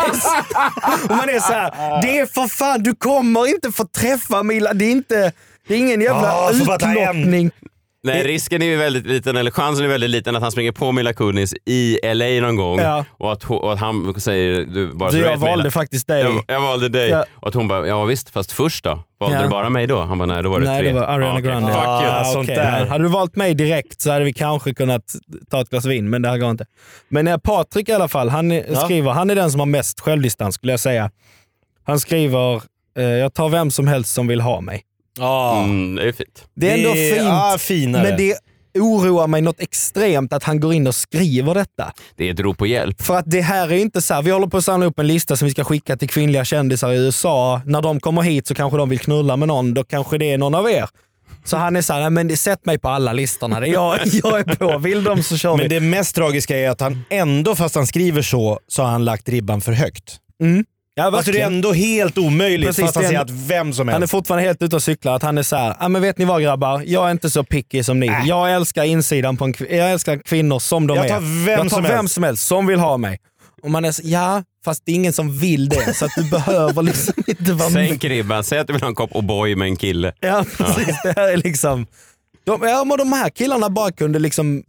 Speaker 3: och man är så här, det är för fan, du kommer inte få träffa Mila. Det är inte, det är ingen jävla
Speaker 2: Ja, får bara ta en.
Speaker 3: utlottning. Eh.
Speaker 1: Nej, risken är ju väldigt liten, eller chansen är väldigt liten att han springer på Mila Kunis i LA någon gång
Speaker 3: Ja.
Speaker 1: och, att, ho- och att han säger du bara
Speaker 3: Så
Speaker 1: du
Speaker 3: jag
Speaker 1: vet,
Speaker 3: valde
Speaker 1: Mila.
Speaker 3: faktiskt dig.
Speaker 1: Jag, jag valde dig.
Speaker 3: Ja.
Speaker 1: Och att hon bara, ja visst, fast först då? Valde
Speaker 3: Ja.
Speaker 1: du bara mig då? Han bara, nej då var det
Speaker 3: Nej,
Speaker 1: tre.
Speaker 3: det var Ariana
Speaker 1: Ja, okej.
Speaker 3: Grande.
Speaker 1: Fuck you.
Speaker 2: Ah, sånt
Speaker 3: okej.
Speaker 2: där.
Speaker 3: Hade du valt mig direkt så hade vi kanske kunnat ta ett glas vin, men det här går inte. Men eh, Patrik i alla fall, han eh, skriver, han är den som har mest självdistans skulle jag säga. Han skriver, eh, jag tar vem som helst som vill ha mig.
Speaker 2: Ja.
Speaker 1: Mm, det är fint.
Speaker 3: Det är ändå fint,
Speaker 2: Ja, finare.
Speaker 3: men det oroar mig något extremt att han går in och skriver detta.
Speaker 1: Det är ett rop på hjälp.
Speaker 3: För att det här är ju inte så här, vi håller på att samla upp en lista som vi ska skicka till kvinnliga kändisar i USA. När de kommer hit så kanske de vill knulla med någon, då kanske det är någon av er. Så han är såhär, nej men sätt mig på alla listorna. Det är Jag, jag är på, vill de så kör vi.
Speaker 2: Men det mest tragiska är att han ändå, fast han skriver så, så har han lagt ribban för högt.
Speaker 3: Mm. ja, verkligen.
Speaker 2: Alltså det är ändå helt omöjligt
Speaker 3: Precis,
Speaker 2: fast han
Speaker 3: det är
Speaker 2: säger att
Speaker 3: ändå-
Speaker 2: vem som
Speaker 3: han är
Speaker 2: helst.
Speaker 3: fortfarande helt ute och cyklar. Att han är såhär, ja men vet ni vad grabbar, jag är inte så picky som ni. Jag älskar insidan på en kv- jag älskar kvinnor som de
Speaker 2: Äh. Jag
Speaker 3: är.
Speaker 2: tar vem
Speaker 3: jag tar
Speaker 2: som
Speaker 3: vem
Speaker 2: helst."
Speaker 3: som helst som vill ha mig. Och man är så, ja, fast det är ingen som vill det. Så att du behöver liksom inte vara med.
Speaker 1: Sänk ribban, säg att du vill ha en kopp O'boy med en kille.
Speaker 3: Ja, precis. Det här är liksom... De, ja, men de här killarna bara kunde liksom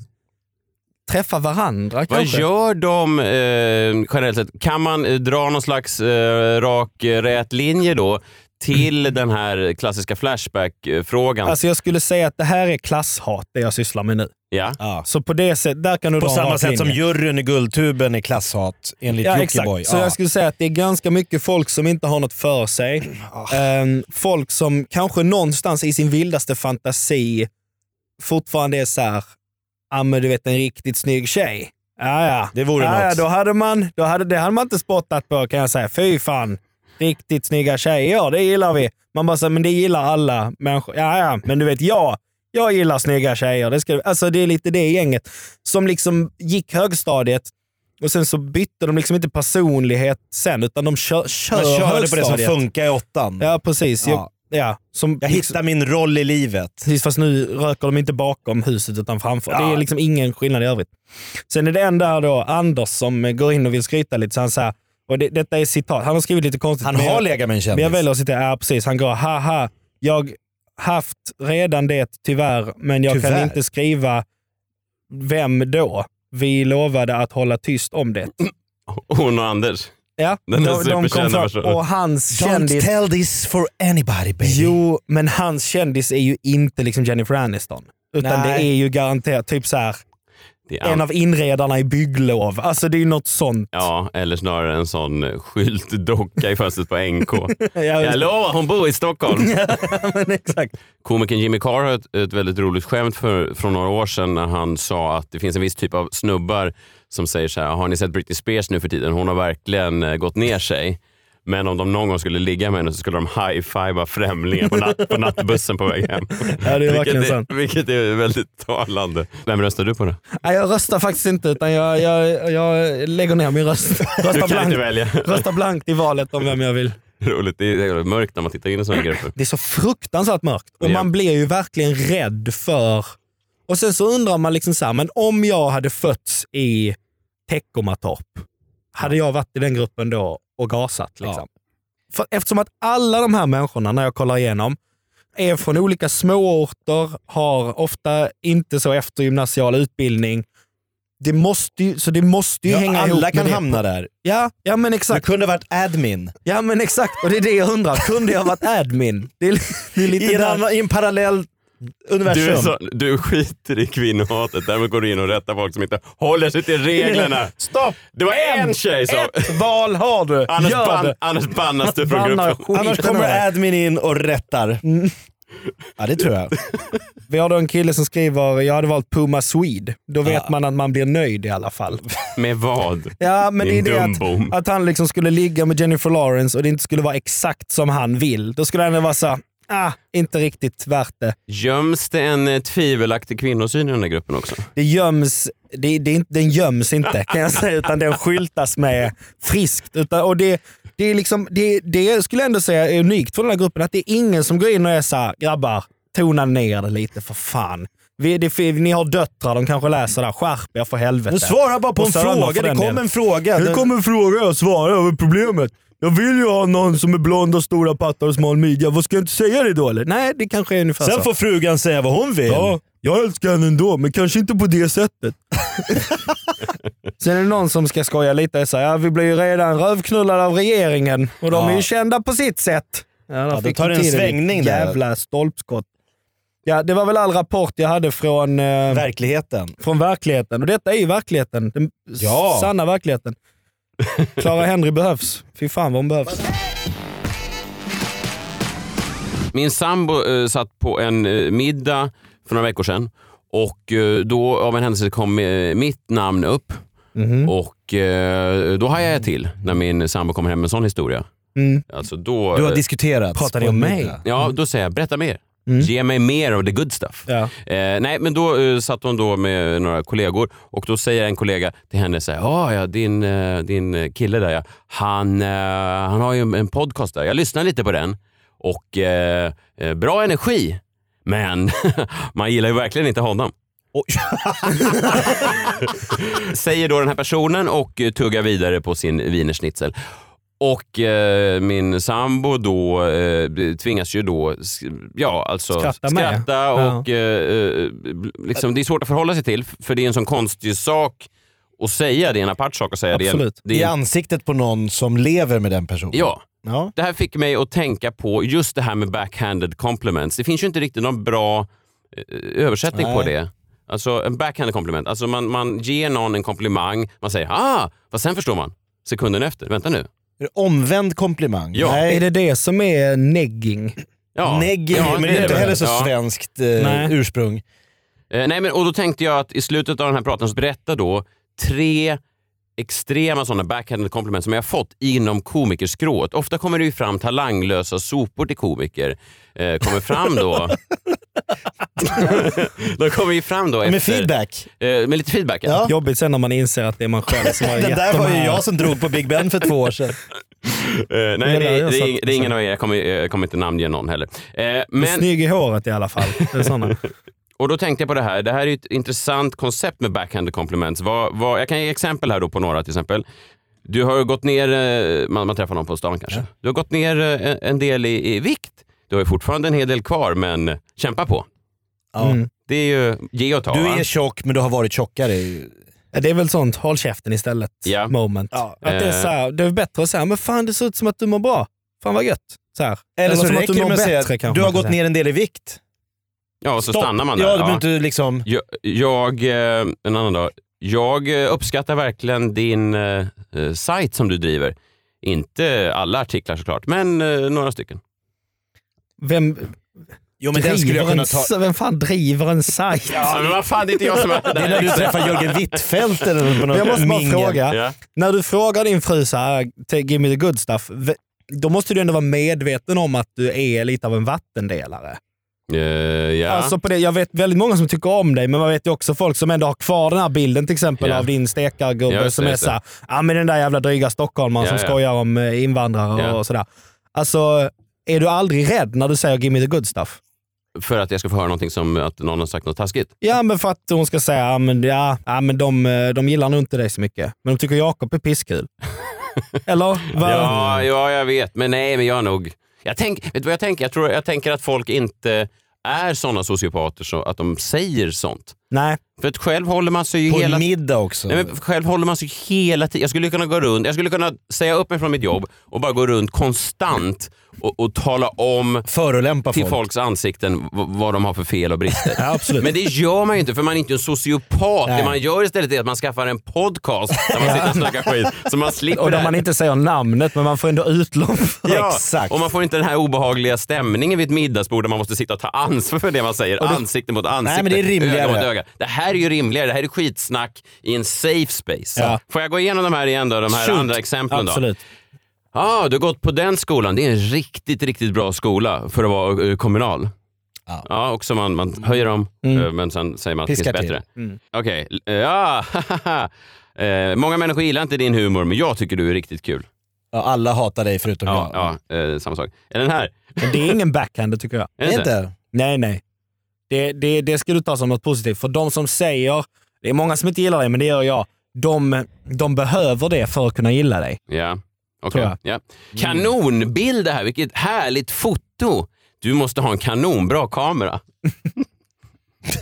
Speaker 3: träffa varandra
Speaker 1: Vad
Speaker 3: kanske.
Speaker 1: gör de eh, generellt sett? Kan man eh, dra någon slags eh, rak, eh, rät linje då till den här klassiska eh, Flashback-frågan?
Speaker 3: Alltså jag skulle säga att det här är klasshat, det jag sysslar med nu.
Speaker 1: ja.
Speaker 3: Så på det sättet, där kan du
Speaker 2: På
Speaker 3: dra en
Speaker 2: samma
Speaker 3: rak
Speaker 2: sätt som
Speaker 3: linje.
Speaker 2: juryn i Guldtuben är klasshat enligt
Speaker 3: Ja,
Speaker 2: Jockiboi.
Speaker 3: exakt. Så
Speaker 2: Ja.
Speaker 3: jag skulle säga att det är ganska mycket folk som inte har något för sig. Ehm, folk som kanske någonstans i sin vildaste fantasi fortfarande är så här, ah, men du vet en riktigt snygg tjej. Ja, ja.
Speaker 2: Det vore
Speaker 3: ja, ja,
Speaker 2: något.
Speaker 3: då hade man, då hade, det hade man inte spottat på kan jag säga. Fy fan. Riktigt snygga tjejer, det gillar vi. Man bara säger, men det gillar alla människor. Ja, ja, men du vet jag. Jag gillar snygga tjejer. Det, ska, alltså, det är lite det gänget som liksom gick högstadiet och sen så bytte de liksom inte personlighet sen, utan de kör, kör
Speaker 2: Man körde på det som
Speaker 3: högstadiet.
Speaker 2: funkar i åttan.
Speaker 3: Ja, precis. Ja. Jag, ja, som
Speaker 2: Jag
Speaker 3: liksom-
Speaker 2: hittar min roll i livet.
Speaker 3: Precis, fast nu röker de inte bakom huset utan framför. Det är liksom ingen skillnad i övrigt. Sen är det en där då, Anders, som eh, går in och vill skryta lite. Så han säger, och det, detta är citat, han har skrivit lite konstigt.
Speaker 2: Han
Speaker 3: men
Speaker 2: har
Speaker 3: jag-
Speaker 2: legat med en
Speaker 3: Men jag
Speaker 2: kändis.
Speaker 3: väljer att citera, ja precis. Han går, haha, jag haft redan det tyvärr, men jag kan
Speaker 2: Tyvärr?
Speaker 3: inte skriva vem då. Vi lovade att hålla tyst om det.
Speaker 1: Hon och Anders.
Speaker 3: Ja,
Speaker 1: Den är
Speaker 3: de, de kom
Speaker 1: superkända
Speaker 3: fram.
Speaker 1: personen.
Speaker 3: Och hans
Speaker 2: Don't
Speaker 3: kändis...
Speaker 2: tell this for anybody baby.
Speaker 3: Jo, men hans kändis är ju inte liksom Jennifer Aniston. Utan
Speaker 2: Nej.
Speaker 3: det är ju garanterat typ så här,
Speaker 1: Det är
Speaker 3: en av inredarna i bygglov. Alltså det är ju något sånt.
Speaker 1: Ja, eller snarare en sån skyltdocka i fönstret på NK.
Speaker 3: Ja,
Speaker 1: Jag lovar, hon bor i Stockholm.
Speaker 3: men exakt.
Speaker 1: Komikern Jimmy Carr har ett, ett väldigt roligt skämt för, från några år sedan när han sa att det finns en viss typ av snubbar som säger så här, har ni sett Britney Spears nu för tiden? Hon har verkligen eh, gått ner sig. Men om de någon gång skulle ligga med henne så skulle de high-fivea främlingar på, natt, på nattbussen på väg hem.
Speaker 3: Ja, det är verkligen
Speaker 1: vilket,
Speaker 3: sant.
Speaker 1: är, vilket är väldigt talande. Vem röstar du på då?
Speaker 3: Nej, jag röstar faktiskt inte utan jag, jag, jag lägger ner min röst.
Speaker 1: Du
Speaker 3: Rösta
Speaker 1: kan inte
Speaker 3: blankt.
Speaker 1: välja.
Speaker 3: Rösta blankt i valet om vem jag vill.
Speaker 1: Roligt, det är, det är mörkt när man tittar in i sådana grupper.
Speaker 3: Det är så fruktansvärt mörkt och
Speaker 1: Ja.
Speaker 3: man blir ju verkligen rädd för... Och sen så undrar man liksom så här, men om jag hade fötts i Teckomatorp, hade jag varit i den gruppen då och gasat? Liksom? För eftersom att alla de här människorna, när jag kollar igenom, är från olika småorter, har ofta inte så eftergymnasial utbildning. Det måste ju, så det måste ju
Speaker 2: Ja,
Speaker 3: hänga ihop
Speaker 2: alla
Speaker 3: med
Speaker 2: kan
Speaker 3: det.
Speaker 2: hamna där.
Speaker 3: Ja, ja, men
Speaker 2: Du
Speaker 3: exakt.
Speaker 2: kunde varit admin.
Speaker 3: Ja, men exakt. Och det är det jag undrar. Kunde jag varit admin? Det är, det är lite
Speaker 2: I, en
Speaker 3: där-
Speaker 2: annan, I en parallell universum.
Speaker 1: Du, är så, du skiter i kvinnohatet, därmed går du in och rättar folk som inte håller sig till reglerna.
Speaker 2: Stopp!
Speaker 1: Det var en tjej som...
Speaker 2: Ett val har du!
Speaker 1: Annars,
Speaker 2: Gör
Speaker 1: ban,
Speaker 2: det.
Speaker 1: annars bannas du från
Speaker 3: Bannar
Speaker 1: gruppen.
Speaker 3: skiten
Speaker 2: Annars
Speaker 3: ur dig.
Speaker 2: kommer admin in och rättar. Ja det tror jag.
Speaker 3: Mm. Vi har då en kille som skriver “Jag hade valt Puma Swede”. Då vet
Speaker 2: Ja.
Speaker 3: man att man blir nöjd i alla fall.
Speaker 1: Med vad?
Speaker 3: Ja, men det är
Speaker 1: Din
Speaker 3: det
Speaker 1: dumbom.
Speaker 3: att, att han liksom skulle ligga med Jennifer Lawrence och det inte skulle vara exakt som han vill. Då skulle han vara såhär, ah, inte riktigt värt det.
Speaker 1: Göms det en eh, tvivelaktig kvinnosyn i den där gruppen också?
Speaker 3: Det göms, det, det, är inte- den göms inte kan jag säga, utan den skyltas med friskt. Utan, och det, det, är liksom, det, det skulle jag ändå säga är unikt för den här gruppen, att det är ingen som går in och är såhär, grabbar, tona ner det lite för fan. Vi, det, ni har döttrar, de kanske läser det här. Skärp er för helvete.
Speaker 2: Men svara bara på
Speaker 3: Och
Speaker 2: en
Speaker 3: söner
Speaker 2: fråga.
Speaker 3: för
Speaker 2: Det
Speaker 3: den
Speaker 2: kom
Speaker 3: delen.
Speaker 2: en fråga.
Speaker 3: Det
Speaker 2: Den-
Speaker 3: kommer en fråga jag svarar över problemet. Jag vill ju ha någon som är blond och stora pattar och smal midja. Vad ska jag inte säga det då eller? Nej, det kanske är ungefär
Speaker 2: Sen
Speaker 3: så.
Speaker 2: får frugan säga vad hon vill.
Speaker 3: Ja, jag älskar henne ändå, men kanske inte på det sättet. Sen är det någon som ska skoja lite och säga ja, vi blir ju redan rövknullade av regeringen och de är ju
Speaker 2: Ja.
Speaker 3: kända på sitt sätt. Ja,
Speaker 2: då tar det en svängning där.
Speaker 3: Jävla stolpskott. Ja, det var väl all rapport jag hade från... eh,
Speaker 2: Verkligheten.
Speaker 3: från verkligheten. Och detta är ju verkligheten. Den
Speaker 2: Ja.
Speaker 3: sanna verkligheten. Clara Henry behövs. Fy fan vad hon behövs.
Speaker 1: Min sambo eh, satt på en eh, middag för några veckor sedan och eh, då av en händelse kom eh, mitt namn upp.
Speaker 2: Mhm.
Speaker 1: Och eh, då hajade jag till när min sambo kom hem med en sån historia. Alltså då,
Speaker 2: Mm. Du har diskuterat.
Speaker 3: Pratar ni om mig?
Speaker 1: ja, då säger jag berätta mer.
Speaker 2: Mm.
Speaker 1: Ge mig mer av the good stuff.
Speaker 3: Ja.
Speaker 1: Eh, nej, men då eh, satt hon då med några kollegor och då säger en kollega till henne så här, "Ah, ja, din, eh, din eh, kille där ja, han, eh, han har ju en, en podcast där. Jag lyssnar lite på den och eh, eh, bra energi. Men man gillar ju verkligen inte honom. Säger då den här personen och eh, tuggar vidare på sin wienerschnitzel. Och eh, min sambo då eh, tvingas ju då sk- ja, alltså
Speaker 3: Skratta med.
Speaker 1: skratta
Speaker 3: Ja.
Speaker 1: och eh, eh, liksom, det är svårt att förhålla sig till för det är en sån konstig sak att säga. Det är en apart sak att säga. Det är en-
Speaker 3: Absolut.
Speaker 1: Det
Speaker 2: I
Speaker 1: är en,
Speaker 2: ansiktet på någon som lever med den personen.
Speaker 1: ja.
Speaker 2: Ja.
Speaker 1: Det här fick mig att tänka på just det här med backhanded compliments. Det finns ju inte riktigt någon bra eh, översättning på
Speaker 2: Nej.
Speaker 1: det. Alltså en backhanded compliment. Alltså man, man ger någon en komplimang, man säger ah, vad sen förstår man sekunden efter. Vänta nu.
Speaker 2: Är det Omvänd komplimang.
Speaker 1: Ja.
Speaker 2: Nej.
Speaker 3: Är det det som är negging?
Speaker 1: Ja.
Speaker 2: Negg, men det är inte
Speaker 1: väl.
Speaker 2: heller så
Speaker 1: Ja.
Speaker 2: svenskt eh,
Speaker 3: Nej.
Speaker 2: ursprung.
Speaker 1: Eh, nej, men, och då tänkte jag att i slutet av den här praten så berätta då tre extrema sådana backhanded komplement som jag har fått inom komikerskrået. Ofta kommer det ju fram talanglösa sopor till komiker. Eh, kommer fram då... De kommer ju fram då efter...
Speaker 2: Med feedback.
Speaker 1: Eh, med lite feedback. Ja.
Speaker 2: Ja.
Speaker 3: Jobbigt sen när man inser att det är man själv som har
Speaker 2: Den
Speaker 3: gett
Speaker 2: där
Speaker 3: de
Speaker 2: var ju
Speaker 3: här-
Speaker 2: jag som drog på Big Ben för två år sedan.
Speaker 1: Eh, nej, det,
Speaker 3: Ja, jag
Speaker 1: det,
Speaker 3: satt-
Speaker 1: det, är ingen av er. Jag kommer, jag kommer inte namnge någon heller. Eh, men,
Speaker 3: Snygg i håret i alla fall. Det är såna.
Speaker 1: Och då tänkte jag på det här. Det här är ju ett intressant koncept med backhanded compliments. Vad, vad, jag kan ge exempel här då på några till exempel. Du har ju gått ner, eh, man, man träffar någon på stan kanske. Du har gått ner eh, en- en del i, i vikt. Du har ju fortfarande en hel del kvar, men kämpa på.
Speaker 2: Ja.
Speaker 3: Mm.
Speaker 1: Det är ju ge och ta.
Speaker 2: Du
Speaker 1: va?
Speaker 2: är tjock men du har varit tjockare.
Speaker 3: Det är väl sånt håll käften istället
Speaker 1: Ja.
Speaker 3: moment.
Speaker 2: Ja.
Speaker 3: Att det, är
Speaker 1: Eh.
Speaker 3: så här, det är bättre att säga, men fan det ser ut som att du mår bra. Fan vad gött. Så här.
Speaker 2: Eller så
Speaker 3: som att
Speaker 2: räcker
Speaker 3: du
Speaker 2: det
Speaker 3: mår
Speaker 2: med att säga
Speaker 3: bättre,
Speaker 2: att
Speaker 3: kanske
Speaker 2: du har
Speaker 3: man kan
Speaker 2: gått
Speaker 3: säga.
Speaker 2: ner en del i vikt.
Speaker 1: Ja, och så stannar man där.
Speaker 2: Ja, du
Speaker 1: Ja.
Speaker 2: behöver inte liksom...
Speaker 1: Jag, jag, eh, en annan dag. Jag eh, uppskattar verkligen din eh, eh, sajt som du driver. Inte alla artiklar såklart, men eh, några stycken.
Speaker 3: Vem,
Speaker 2: Jo,
Speaker 3: driver en, sa- vem fan driver en sajt?
Speaker 1: Ja, men vad fan, det är inte jag som är
Speaker 2: Det är när du träffar Jörgen Wittfeldt eller på något
Speaker 3: Jag måste bara
Speaker 2: mingel.
Speaker 3: fråga.
Speaker 1: Ja.
Speaker 3: När du frågar din fru så här, "Ta- give me the good stuff, v- då måste du ändå vara medveten om att du är lite av en vattendelare.
Speaker 1: Eh, ja.
Speaker 3: Alltså på det, jag vet väldigt många som tycker om dig, men man vet ju också folk som ändå har kvar den här bilden till exempel
Speaker 1: Ja.
Speaker 3: av din stekargubbe
Speaker 1: Ja, just
Speaker 3: som
Speaker 1: det,
Speaker 3: är
Speaker 1: just det.
Speaker 3: såhär, ja ah, men den där jävla dryga stockholmaren som
Speaker 1: Ja, ja.
Speaker 3: skojar om eh, invandrare
Speaker 1: Ja.
Speaker 3: och sådär. Alltså, är du aldrig rädd när du säger give me the good stuff?
Speaker 1: För att jag ska få höra någonting som att någon har sagt något taskigt.
Speaker 3: Ja, men för att hon ska säga, ja men, ja, ja, men de, eh, de gillar nog inte dig så mycket, men de tycker Jakob är pisskul. Eller? Vad-
Speaker 1: Ja, ja, jag vet. Men nej, men jag är nog... Jag tänk, vet du vad jag tänker? Jag, tror, jag tänker att folk inte är såna sociopater så att de säger sånt.
Speaker 3: Nej.
Speaker 1: För att själv håller man sig ju
Speaker 2: På
Speaker 1: hela
Speaker 2: middag också.
Speaker 1: Nej, men själv håller man sig hela tiden. Jag skulle kunna gå runt, jag skulle kunna säga upp mig från mitt jobb och bara gå runt konstant och, och tala om
Speaker 2: Förolämpa
Speaker 1: till
Speaker 2: folk.
Speaker 1: folks ansikten v- vad de har för fel och brister.
Speaker 3: Ja, absolut.
Speaker 1: Men det gör man ju inte för man är inte en sociopat.
Speaker 3: Nej.
Speaker 1: Det man gör istället är att man skaffar en podcast där man sitter och snackar skit. Så man slipper
Speaker 3: och
Speaker 1: det
Speaker 3: där
Speaker 1: här.
Speaker 3: man inte säger namnet, men man får ändå utlopp för
Speaker 1: Ja,
Speaker 2: Exakt.
Speaker 1: och man får inte den här obehagliga stämningen vid ett middagsbord där man måste sitta och ta ansvar för det man säger. ansikte mot ansikte.
Speaker 2: men det är rimligare.
Speaker 1: Öga mot öga. Det här är ju rimligare. Det här är skitsnack i en safe space.
Speaker 3: Ja.
Speaker 1: Får jag gå igenom de här igen då? De här
Speaker 3: Shoot.
Speaker 1: andra exemplen då?
Speaker 3: Absolut.
Speaker 1: Ja, ah, du har gått på den skolan. Det är en riktigt, riktigt bra skola för att vara eh, kommunal. Ja, också man, man höjer dem, eh, men sen säger man att det finns
Speaker 2: Mm. Piskar till. Mm.
Speaker 1: bättre. Okej, eh, ja, eh, många människor gillar inte din humor, men jag tycker du är riktigt kul.
Speaker 2: Ja, alla hatar dig förutom
Speaker 1: Ja,
Speaker 2: jag.
Speaker 1: ja. eh, samma sak. Är den här?
Speaker 3: Men det är ingen backhand tycker jag.
Speaker 1: Är det inte?
Speaker 2: Inte?
Speaker 3: Nej, nej. Det, det, det ska du ta som något positivt. För de som säger, det är många som inte gillar dig, men det gör jag. De, de behöver det för att kunna gilla dig.
Speaker 1: Ja. Okay.
Speaker 3: Tror jag.
Speaker 1: ja.
Speaker 2: Mm.
Speaker 1: Kanonbild det här, vilket härligt foto. Du måste ha en kanonbra kamera.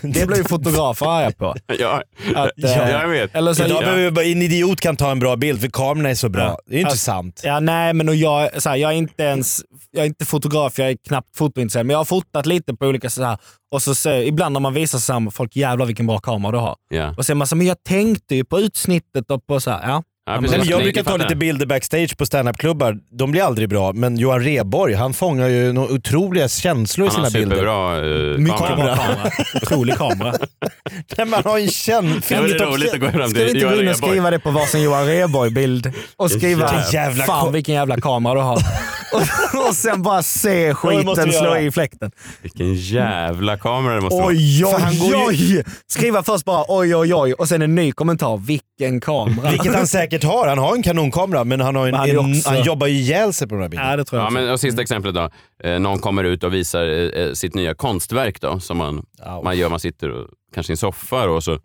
Speaker 3: Det blir ju fotografer arga på.
Speaker 1: Ja,
Speaker 3: Att, eh,
Speaker 1: jag vet.
Speaker 3: Eller så,
Speaker 2: Idag
Speaker 1: Ja.
Speaker 2: behöver vi bara, en idiot kan ta en bra bild för kamerorna är så bra.
Speaker 3: Ja.
Speaker 2: Det är ju inte
Speaker 3: Alltså,
Speaker 2: sant.
Speaker 3: Ja, nej, men och jag, så här, jag är inte ens jag är inte fotograf, jag är knappt fotointresserad, men jag har fotat lite på olika så här. Och så, så, ibland när man visar sig här, folk jävlar vilken bra kamera du har.
Speaker 1: Ja.
Speaker 3: Och så är man så här, men jag tänkte ju på utsnittet och på så här, ja.
Speaker 1: Ja,
Speaker 2: Nej, men
Speaker 1: precis.
Speaker 2: jag
Speaker 1: Nej,
Speaker 2: brukar
Speaker 1: det
Speaker 2: ta
Speaker 1: fattar
Speaker 2: lite bilder backstage på standupklubbar. De blir aldrig bra, men Johan Rheborg han fångar ju några otroliga känslor i
Speaker 1: Han har
Speaker 2: sina bilder.
Speaker 1: superbra eh,
Speaker 3: Mycket bra
Speaker 1: kamera.
Speaker 3: kamera. Otrolig kamera.
Speaker 2: Nej, man har en känsla.
Speaker 1: Ja, men det är roligt att gå fram
Speaker 3: Ska vi
Speaker 1: till
Speaker 3: inte gå
Speaker 1: Johan
Speaker 3: in och
Speaker 1: Rheborg.
Speaker 3: skriva det på varsin Johan Rheborg-bild? Och skriva
Speaker 2: Vilken jävla
Speaker 3: “Fan
Speaker 2: kom-
Speaker 3: vilken jävla kamera du har”. och, och sen bara se
Speaker 2: det måste
Speaker 3: skiten
Speaker 2: vi
Speaker 3: slå
Speaker 2: göra.
Speaker 3: i fläkten.
Speaker 1: Vilken jävla kamera det måste vara.
Speaker 3: Mm. Oj,
Speaker 2: För han
Speaker 3: oj,
Speaker 2: går
Speaker 3: oj! Skriva först bara oj, oj, oj och sen en ny kommentar. Vilken kamera.
Speaker 2: Vilket han säkert har. Han har en kanonkamera, men han, har en,
Speaker 3: Men han
Speaker 2: han,
Speaker 3: är
Speaker 2: en,
Speaker 3: också-
Speaker 2: han jobbar ju ihjäl sig på de här bilderna.
Speaker 3: ja, det tror jag
Speaker 1: Ja,
Speaker 3: också.
Speaker 1: men, och sista exemplet då. Eh, någon kommer ut och visar eh, eh, sitt nya konstverk då, som man, man gör. Man sitter och, kanske i en soffa då, och så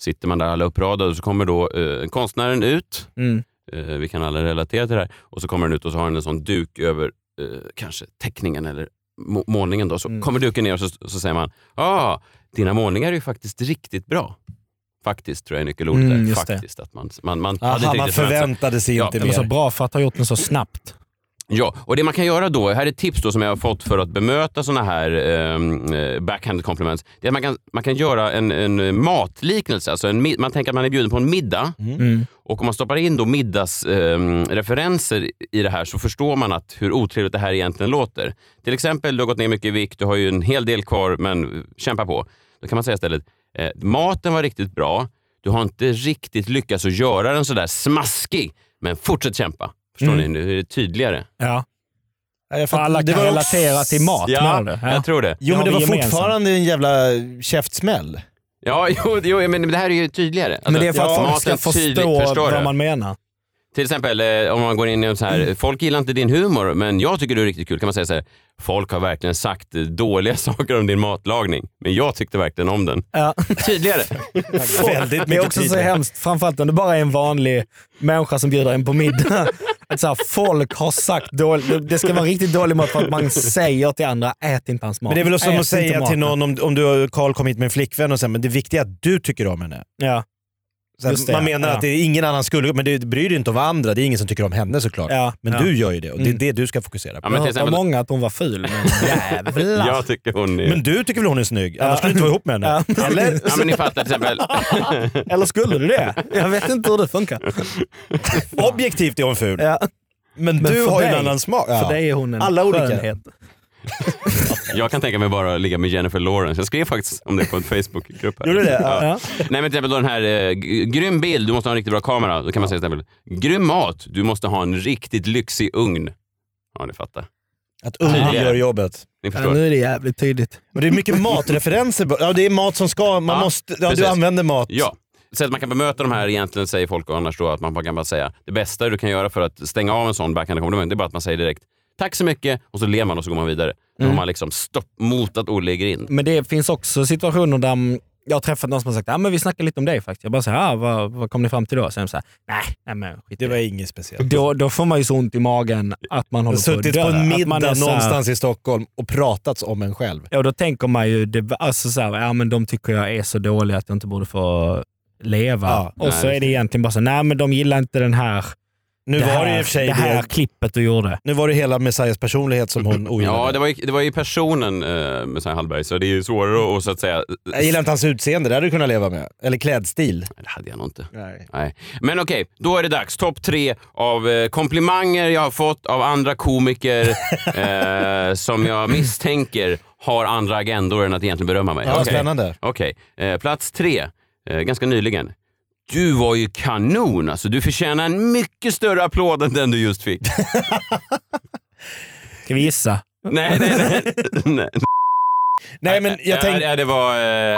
Speaker 1: sitter man där alla uppradade och så kommer då eh, konstnären ut.
Speaker 3: Mm.
Speaker 1: Eh, vi kan alla relatera till det här. Och så kommer den ut och så har den en sån duk över eh, kanske teckningen eller må- målningen. Då. Så
Speaker 3: Mm.
Speaker 1: kommer duken ner och så, så säger man ah, dina målningar är ju faktiskt riktigt bra. Faktiskt tror jag är nyckelordet
Speaker 3: Mm,
Speaker 1: där.
Speaker 3: just det.
Speaker 1: Faktiskt, att man, man, man hade inte
Speaker 2: Aha, man
Speaker 1: riktigt förväntat sig-
Speaker 2: förväntade sig
Speaker 1: Ja,
Speaker 2: inte
Speaker 3: Det var så
Speaker 2: mer.
Speaker 3: bra för att ha gjort den så snabbt.
Speaker 1: Ja, och det man kan göra då, här är tips då som jag har fått för att bemöta såna här ehm, eh, backhanded compliments. Det är att man kan, man kan göra en, en matliknelse, alltså en, mid- man tänker att man är bjuden på en middag och om man stoppar in då middagsreferenser i det här så förstår man att hur otrevligt det här egentligen låter. Till exempel, du har gått ner mycket i vikt, du har ju en hel del kvar men eh, kämpa på. Då kan man säga istället, eh, maten var riktigt bra, du har inte riktigt lyckats att göra den sådär smaskig, men fortsätt kämpa. Förstår ni? Nu är det tydligare.
Speaker 3: Ja.
Speaker 2: Jag
Speaker 3: För
Speaker 2: fattar.
Speaker 3: alla
Speaker 2: Det
Speaker 3: kan
Speaker 2: var också-
Speaker 3: relatera till mat
Speaker 1: Ja,
Speaker 3: menar du? Ja.
Speaker 1: jag tror det.
Speaker 2: Jo,
Speaker 3: Ja,
Speaker 2: men det
Speaker 3: vi
Speaker 2: var
Speaker 3: är gemensamma.
Speaker 2: fortfarande en jävla käftsmäll.
Speaker 1: Ja, jo, jo, men det här är ju tydligare. Alltså,
Speaker 3: Men det är för att
Speaker 1: maten
Speaker 3: folk ska
Speaker 1: tydligt
Speaker 3: förstå
Speaker 1: förstör det.
Speaker 3: vad man Mm. menar.
Speaker 1: Till exempel eh, om man går in i en så här, folk gillar inte din humor, men jag tycker du är riktigt kul. Kan man säga så här, folk har verkligen sagt eh, dåliga saker om din matlagning, men jag tyckte verkligen om den.
Speaker 3: Ja.
Speaker 1: Tydligare.
Speaker 2: Väldigt
Speaker 3: Det är
Speaker 2: mycket
Speaker 3: också så
Speaker 2: tydligare.
Speaker 3: hemskt, framförallt om det bara är en vanlig människa som bjuder en på middag. Att så här, folk har sagt dåligt, det ska vara riktigt dålig mat för att man säger till andra, ät inte hans mat.
Speaker 2: Men det är väl som
Speaker 3: Ät
Speaker 2: att
Speaker 3: inte
Speaker 2: säga till
Speaker 3: maten."
Speaker 2: någon om, om du Karl kom hit med en flickvän och säger men det viktiga är att du tycker om henne.
Speaker 3: Ja.
Speaker 2: Så att
Speaker 3: Just det,
Speaker 2: man
Speaker 3: ja.
Speaker 2: menar
Speaker 3: Ja.
Speaker 2: att det är ingen annan skulle... Men du bryr dig inte om vad andra, det är ingen som tycker om henne såklart.
Speaker 3: Ja.
Speaker 2: Men
Speaker 3: Ja. Mm.
Speaker 2: du gör ju det och det är det du ska fokusera på.
Speaker 1: Ja, men
Speaker 3: jag
Speaker 1: till
Speaker 3: har hört av
Speaker 1: exempel-
Speaker 3: många att hon var ful, men jävlar.
Speaker 1: Jag tycker hon är...
Speaker 2: Men du tycker väl hon är snygg? Annars skulle du inte vara ihop med henne? Eller?
Speaker 1: Ja, men ni fattar till exempel.
Speaker 3: Eller skulle du det? Jag vet inte hur det funkar.
Speaker 2: Objektivt är hon ful.
Speaker 3: Ja.
Speaker 2: Men,
Speaker 3: Men
Speaker 2: du
Speaker 3: för
Speaker 2: har ju en
Speaker 3: dig-
Speaker 2: annan smak. Ja.
Speaker 3: För dig är hon en
Speaker 2: Alla olika.
Speaker 3: skönhet.
Speaker 1: Jag kan tänka mig bara att ligga med Jennifer Lawrence. Jag skrev faktiskt om det på en Facebookgrupp. här.
Speaker 2: Gjorde du det? Ja.
Speaker 1: Nej men till exempel då den här, eh, g- grym bild, du måste ha en riktigt bra kamera. Då kan man säga till exempel, grym mat, du måste ha en riktigt lyxig ugn. Ja, ni fattar.
Speaker 2: Att ungen
Speaker 1: Tydligare.
Speaker 2: gör jobbet.
Speaker 1: Ni
Speaker 3: Ja,
Speaker 1: förstår.
Speaker 3: nu är det jävligt tydligt.
Speaker 2: Men det är mycket matreferenser. bara. Ja, det är mat som ska... Man
Speaker 1: Ja,
Speaker 2: måste, ja, du
Speaker 1: precis.
Speaker 2: använder mat.
Speaker 1: Ja. Så att man kan bemöta de här egentligen säger folk och annars då att man bara kan bara säga det bästa du kan göra för att stänga av en sån backhand komplement det är bara att man säger direkt tack så mycket och så ler man och så går man vidare. Då
Speaker 2: Mm.
Speaker 1: har man liksom stopp, motat Olle i grind.
Speaker 3: Men det finns också situationer där mm, jag har träffat någon som har sagt ah, men vi snackar lite om dig faktiskt. Jag bara såhär, ah, vad, vad kom ni fram till då? Sen såhär, nej, nej men skit i
Speaker 2: Det
Speaker 3: det.
Speaker 2: var inget speciellt.
Speaker 3: Då, då får man ju så ont i magen att man håller på Alltså, att
Speaker 2: Suttit
Speaker 3: dö.
Speaker 2: på en
Speaker 3: att man
Speaker 2: middag
Speaker 3: är så här-
Speaker 2: någonstans i Stockholm och pratats om en själv.
Speaker 3: Ja, då tänker man ju, det, alltså så här, ja men de tycker jag är så dålig att jag inte borde få leva.
Speaker 2: Ja,
Speaker 3: och så
Speaker 1: nej,
Speaker 3: är det egentligen bara så nej men de gillar inte den här,
Speaker 2: Nu
Speaker 3: det,
Speaker 2: var
Speaker 3: här,
Speaker 2: det i och för sig
Speaker 3: det här
Speaker 2: det.
Speaker 3: klippet du gjorde.
Speaker 2: Nu var det hela Messiahs personlighet som hon ogillade.
Speaker 1: Ja, det var ju, det var ju personen eh, med Messiah Hallberg så det är ju svårare att- att så att säga...
Speaker 2: Jag gillar inte hans utseende, det hade du kunnat leva med. Eller klädstil.
Speaker 1: Det hade jag nog inte.
Speaker 2: Nej.
Speaker 1: Nej. Men okej, då är det dags. Topp tre av eh, komplimanger jag har fått av andra komiker eh, som jag misstänker har andra agendor än att egentligen berömma mig.
Speaker 2: Ja,
Speaker 1: Okej.
Speaker 2: Spännande.
Speaker 1: Okej, eh, plats tre, eh, ganska nyligen. Du var ju kanon alltså. Du förtjänar en mycket större applåd än den du just fick.
Speaker 3: Ska vi gissa?
Speaker 1: nej, nej, nej. nej.
Speaker 2: Nej men jag tänkte,
Speaker 1: Ja, det var... Eh,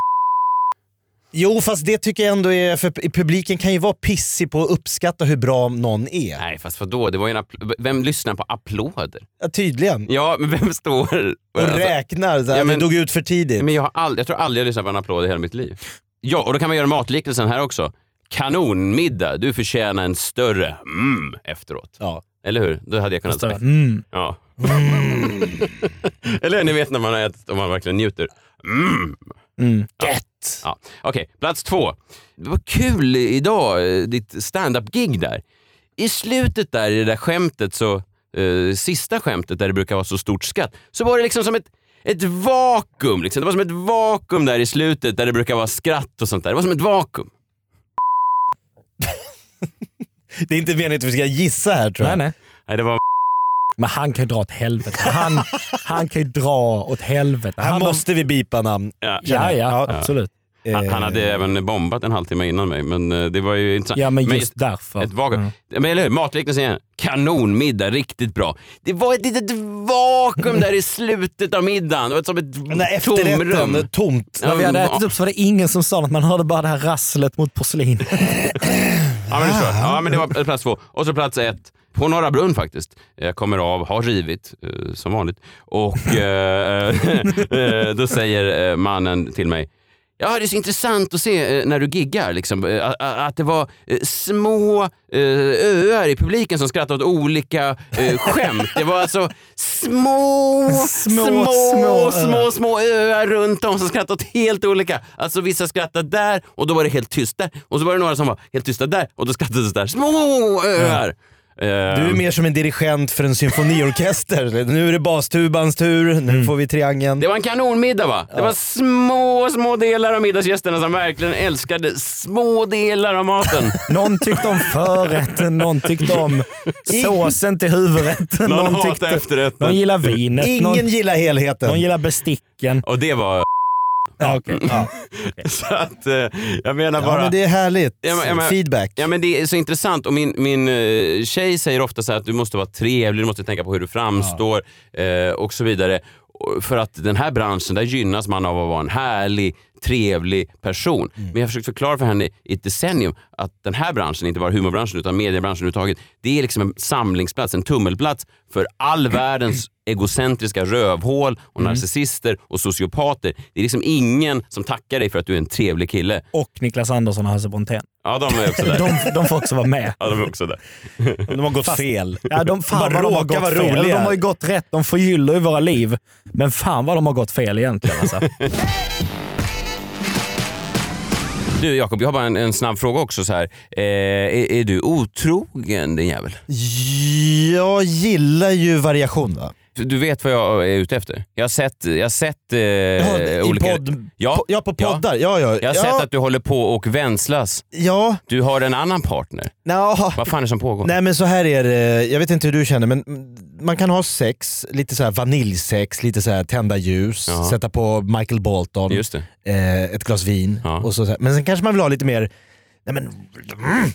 Speaker 2: jo fast det tycker jag ändå är, för publiken kan ju vara pissig på att uppskatta hur bra någon är.
Speaker 1: nej, fast vadå? Det var ju en appl- vem lyssnar på applåder?
Speaker 2: Ja, tydligen.
Speaker 1: Ja, men vem står...
Speaker 2: Och
Speaker 1: Alltså-
Speaker 2: räknar, såhär,
Speaker 1: Ja, men- Mm.
Speaker 2: det dog ut för tidigt.
Speaker 1: Men jag, har all, jag tror aldrig jag lyssnat på en applåd i hela mitt liv. Ja, och då kan man göra matliknelsen här också. Kanonmiddag, du förtjänar en större mm efteråt.
Speaker 2: Ja.
Speaker 1: Eller hur? Då hade jag kunnat säga. Ja.
Speaker 2: Mm.
Speaker 1: Eller ni vet när man har ätit och man verkligen njuter. Mm.
Speaker 2: Gött!
Speaker 1: Ja. Okej, plats två. Det var kul idag, eh, ditt stand-up-gig där. I slutet där, i det där skämtet, så, eh, sista skämtet där det brukar vara så stort skatt, så var det liksom som ett, ett vakuum. Liksom. Det var som ett vakuum där i slutet där det brukar vara skratt och sånt där. Det var som ett vakuum.
Speaker 2: Det är inte meningen att vi ska gissa här tror
Speaker 3: Nej,
Speaker 2: jag.
Speaker 3: nej.
Speaker 1: Nej, det var...
Speaker 3: Men han kan ju dra åt helvete. Han, han kan ju dra åt helvete.
Speaker 2: Här
Speaker 3: Han var-
Speaker 2: måste vi bipa namn.
Speaker 1: Ja.
Speaker 3: Ja, ja,
Speaker 2: Ja.
Speaker 3: absolut.
Speaker 1: Han, han
Speaker 2: Eh,
Speaker 1: hade även bombat en halvtimme innan mig, men eh, det var ju intressant.
Speaker 3: Ja, men
Speaker 1: Men
Speaker 3: just därför. Mm.
Speaker 1: Ett vakuum. Men eller hur, matliknelsen igen. Kanonmiddag, riktigt bra. Det var ett litet vakuum där i slutet av middagen. Det var som
Speaker 2: Den där
Speaker 1: ett tomrum.
Speaker 3: eh,
Speaker 2: efterrätten, tomt.
Speaker 1: Ja,
Speaker 3: När vi hade
Speaker 1: ja,
Speaker 3: ätit upp så var det ingen som sa något. Man hörde bara det här rasslet mot porslin.
Speaker 1: ja, men det tror jag. ja, men det var plats två. Och så plats ett. På Norra Brunn faktiskt. Jag kommer av, har rivit eh, som vanligt. Och eh, eh, då säger eh, mannen till mig Ja, det är så intressant att se eh, när du giggar, liksom, eh, a- a- att det var eh, små eh, öar i publiken som skrattade åt olika eh, skämt. Det var alltså små,
Speaker 3: Små,
Speaker 1: små,
Speaker 3: små
Speaker 1: små,
Speaker 3: öar.
Speaker 1: små, små öar runt om som skrattade åt helt olika. Alltså vissa skrattade där och då var det helt tyst där. Och så var det några som var helt tysta där och då skrattades det där. Små öar! Eh,
Speaker 2: Du är mer som en dirigent för en symfoniorkester. nu är det bastubans tur,
Speaker 3: Mm.
Speaker 2: nu får vi triangeln.
Speaker 1: Det var en kanonmiddag va? Det var små, små delar av middagsgästerna som verkligen älskade små delar av maten.
Speaker 3: Någon tyckte om förrätten, någon tyckte om såsen till huvudrätten.
Speaker 1: Någon hatade
Speaker 3: tyckte,
Speaker 1: efterrätten.
Speaker 3: Någon gillar vinet.
Speaker 2: Ingen
Speaker 3: någon,
Speaker 2: gillar helheten.
Speaker 3: någon gillar besticken.
Speaker 1: Och det var...
Speaker 3: Ja, okej. ja.
Speaker 1: Så att, eh, jag menar
Speaker 2: Ja,
Speaker 1: bara...
Speaker 2: men det är härligt.
Speaker 1: Ja, men- ja, men-
Speaker 2: Feedback.
Speaker 1: Ja men det är så intressant och min, min eh, tjej säger ofta så här att du måste vara trevlig, du måste tänka på hur du framstår eh, och så vidare. Och För att den här branschen, där gynnas man av att vara en härlig, trevlig person. Men jag har försökt förklara för henne i ett decennium att den här branschen, inte bara humorbranschen utan mediebranschen överhuvudtaget, det är liksom en samlingsplats, en tummelplats för all världens egocentriska rövhål och narcissister och sociopater. Det är liksom ingen som tackar dig för att du är en trevlig kille.
Speaker 3: Och Niklas Andersson och Hasse Brontén.
Speaker 1: Ja, de är också där.
Speaker 3: De, de får också vara med.
Speaker 1: Ja, de är också där.
Speaker 2: De har gått fel.
Speaker 3: Ja, de, fan vad
Speaker 2: Bara
Speaker 3: de har
Speaker 2: råkar
Speaker 3: gått
Speaker 2: vara
Speaker 3: fel. Eller
Speaker 2: roliga.
Speaker 3: De har ju gått rätt. De förgyller ju våra liv. Men fan vad de har gått fel egentligen. Alltså.
Speaker 1: Du Jakob, jag har bara en, en snabb fråga också. Så här. Eh, är, är du otrogen din jävel?
Speaker 2: Jag gillar ju variation va?
Speaker 1: Du vet vad jag är ute efter? Jag har sett, jag har sett eh,
Speaker 2: Ja, I
Speaker 1: olika...
Speaker 2: podd...
Speaker 1: Ja,
Speaker 2: Ja, ja, på
Speaker 1: ja.
Speaker 2: poddar. Ja, ja.
Speaker 1: Jag har
Speaker 2: ja,
Speaker 1: sett att du håller på och vänslas.
Speaker 2: Ja,
Speaker 1: Du har en annan partner.
Speaker 2: Nå.
Speaker 1: Vad fan är det som pågår?
Speaker 2: Nej men så här är det, jag vet inte hur du känner men man kan ha sex, lite så här vaniljsex, lite så här tända ljus,
Speaker 1: Ja.
Speaker 2: sätta på Michael Bolton,
Speaker 1: Just det.
Speaker 2: eh, ett glas vin
Speaker 1: Ja.
Speaker 2: och så, så här. Men sen kanske man vill ha lite mer, nej men, mm,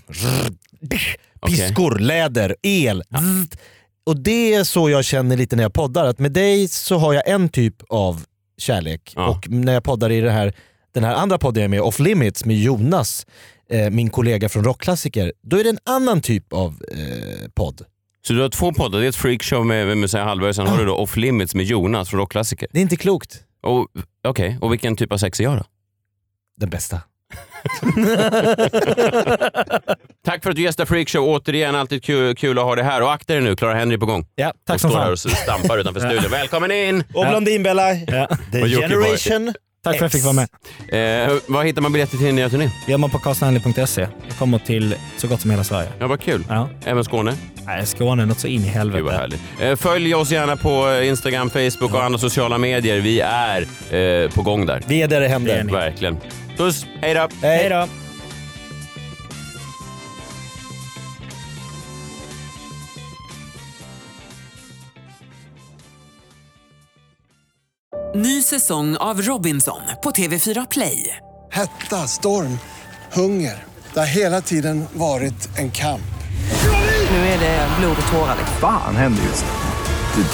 Speaker 2: bisch,
Speaker 1: Okej.
Speaker 2: piskor, läder, el. zzzt. Och det är så jag känner lite när jag poddar, att med dig så har jag en typ av kärlek
Speaker 1: Ja.
Speaker 2: och när jag poddar i det här, den här andra podden jag är med i, Off Limits med Jonas, eh, min kollega från Rockklassiker, då är det en annan typ av eh, podd.
Speaker 1: Så du har två poddar. Det är ett freakshow med, med Messiah Hallberg och sen har du då Off Limits med Jonas från Rockklassiker.
Speaker 2: Det är inte klokt.
Speaker 1: Och- Okej, och vilken typ av sex är jag då?
Speaker 2: Den bästa.
Speaker 1: Tack för att du gästar Freakshow återigen. Alltid kul, kul att ha det här. Och akta dig nu, Clara-Henry är på gång.
Speaker 2: Ja,
Speaker 1: och står här och stampar utanför studion. Välkommen in!
Speaker 2: Och Blondinbella, the
Speaker 1: Och Jockiboi.
Speaker 2: generation.
Speaker 3: Tack för att jag fick vara med.
Speaker 1: Eh, var hittar man biljetter till din nya turné?
Speaker 3: Gör man på carlsonhandling.se. E, Jag kommer till så gott som hela Sverige.
Speaker 1: Ja, vad kul.
Speaker 3: Ja.
Speaker 1: Även Skåne.
Speaker 3: Nej, Skåne, något så in i
Speaker 1: Gud vad
Speaker 3: helvete.
Speaker 1: härligt. Eh, följ oss gärna på eh, Instagram, Facebook och andra sociala medier. Vi är eh, på gång där.
Speaker 2: Vi är där det händer.
Speaker 3: Det är ni.
Speaker 1: Verkligen. Puss, hej då!
Speaker 2: Hej.
Speaker 3: Hej då!
Speaker 6: Ny säsong av Robinson på TV4 Play.
Speaker 7: Hetta, storm, hunger. Det har hela tiden varit en kamp.
Speaker 6: Nu är det blod och tårar.
Speaker 8: Fan händer just det.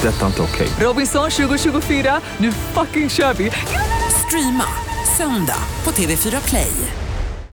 Speaker 8: Det är detta inte okej.
Speaker 6: Robinson 2024, nu fucking kör vi! Streama söndag på TV4 Play.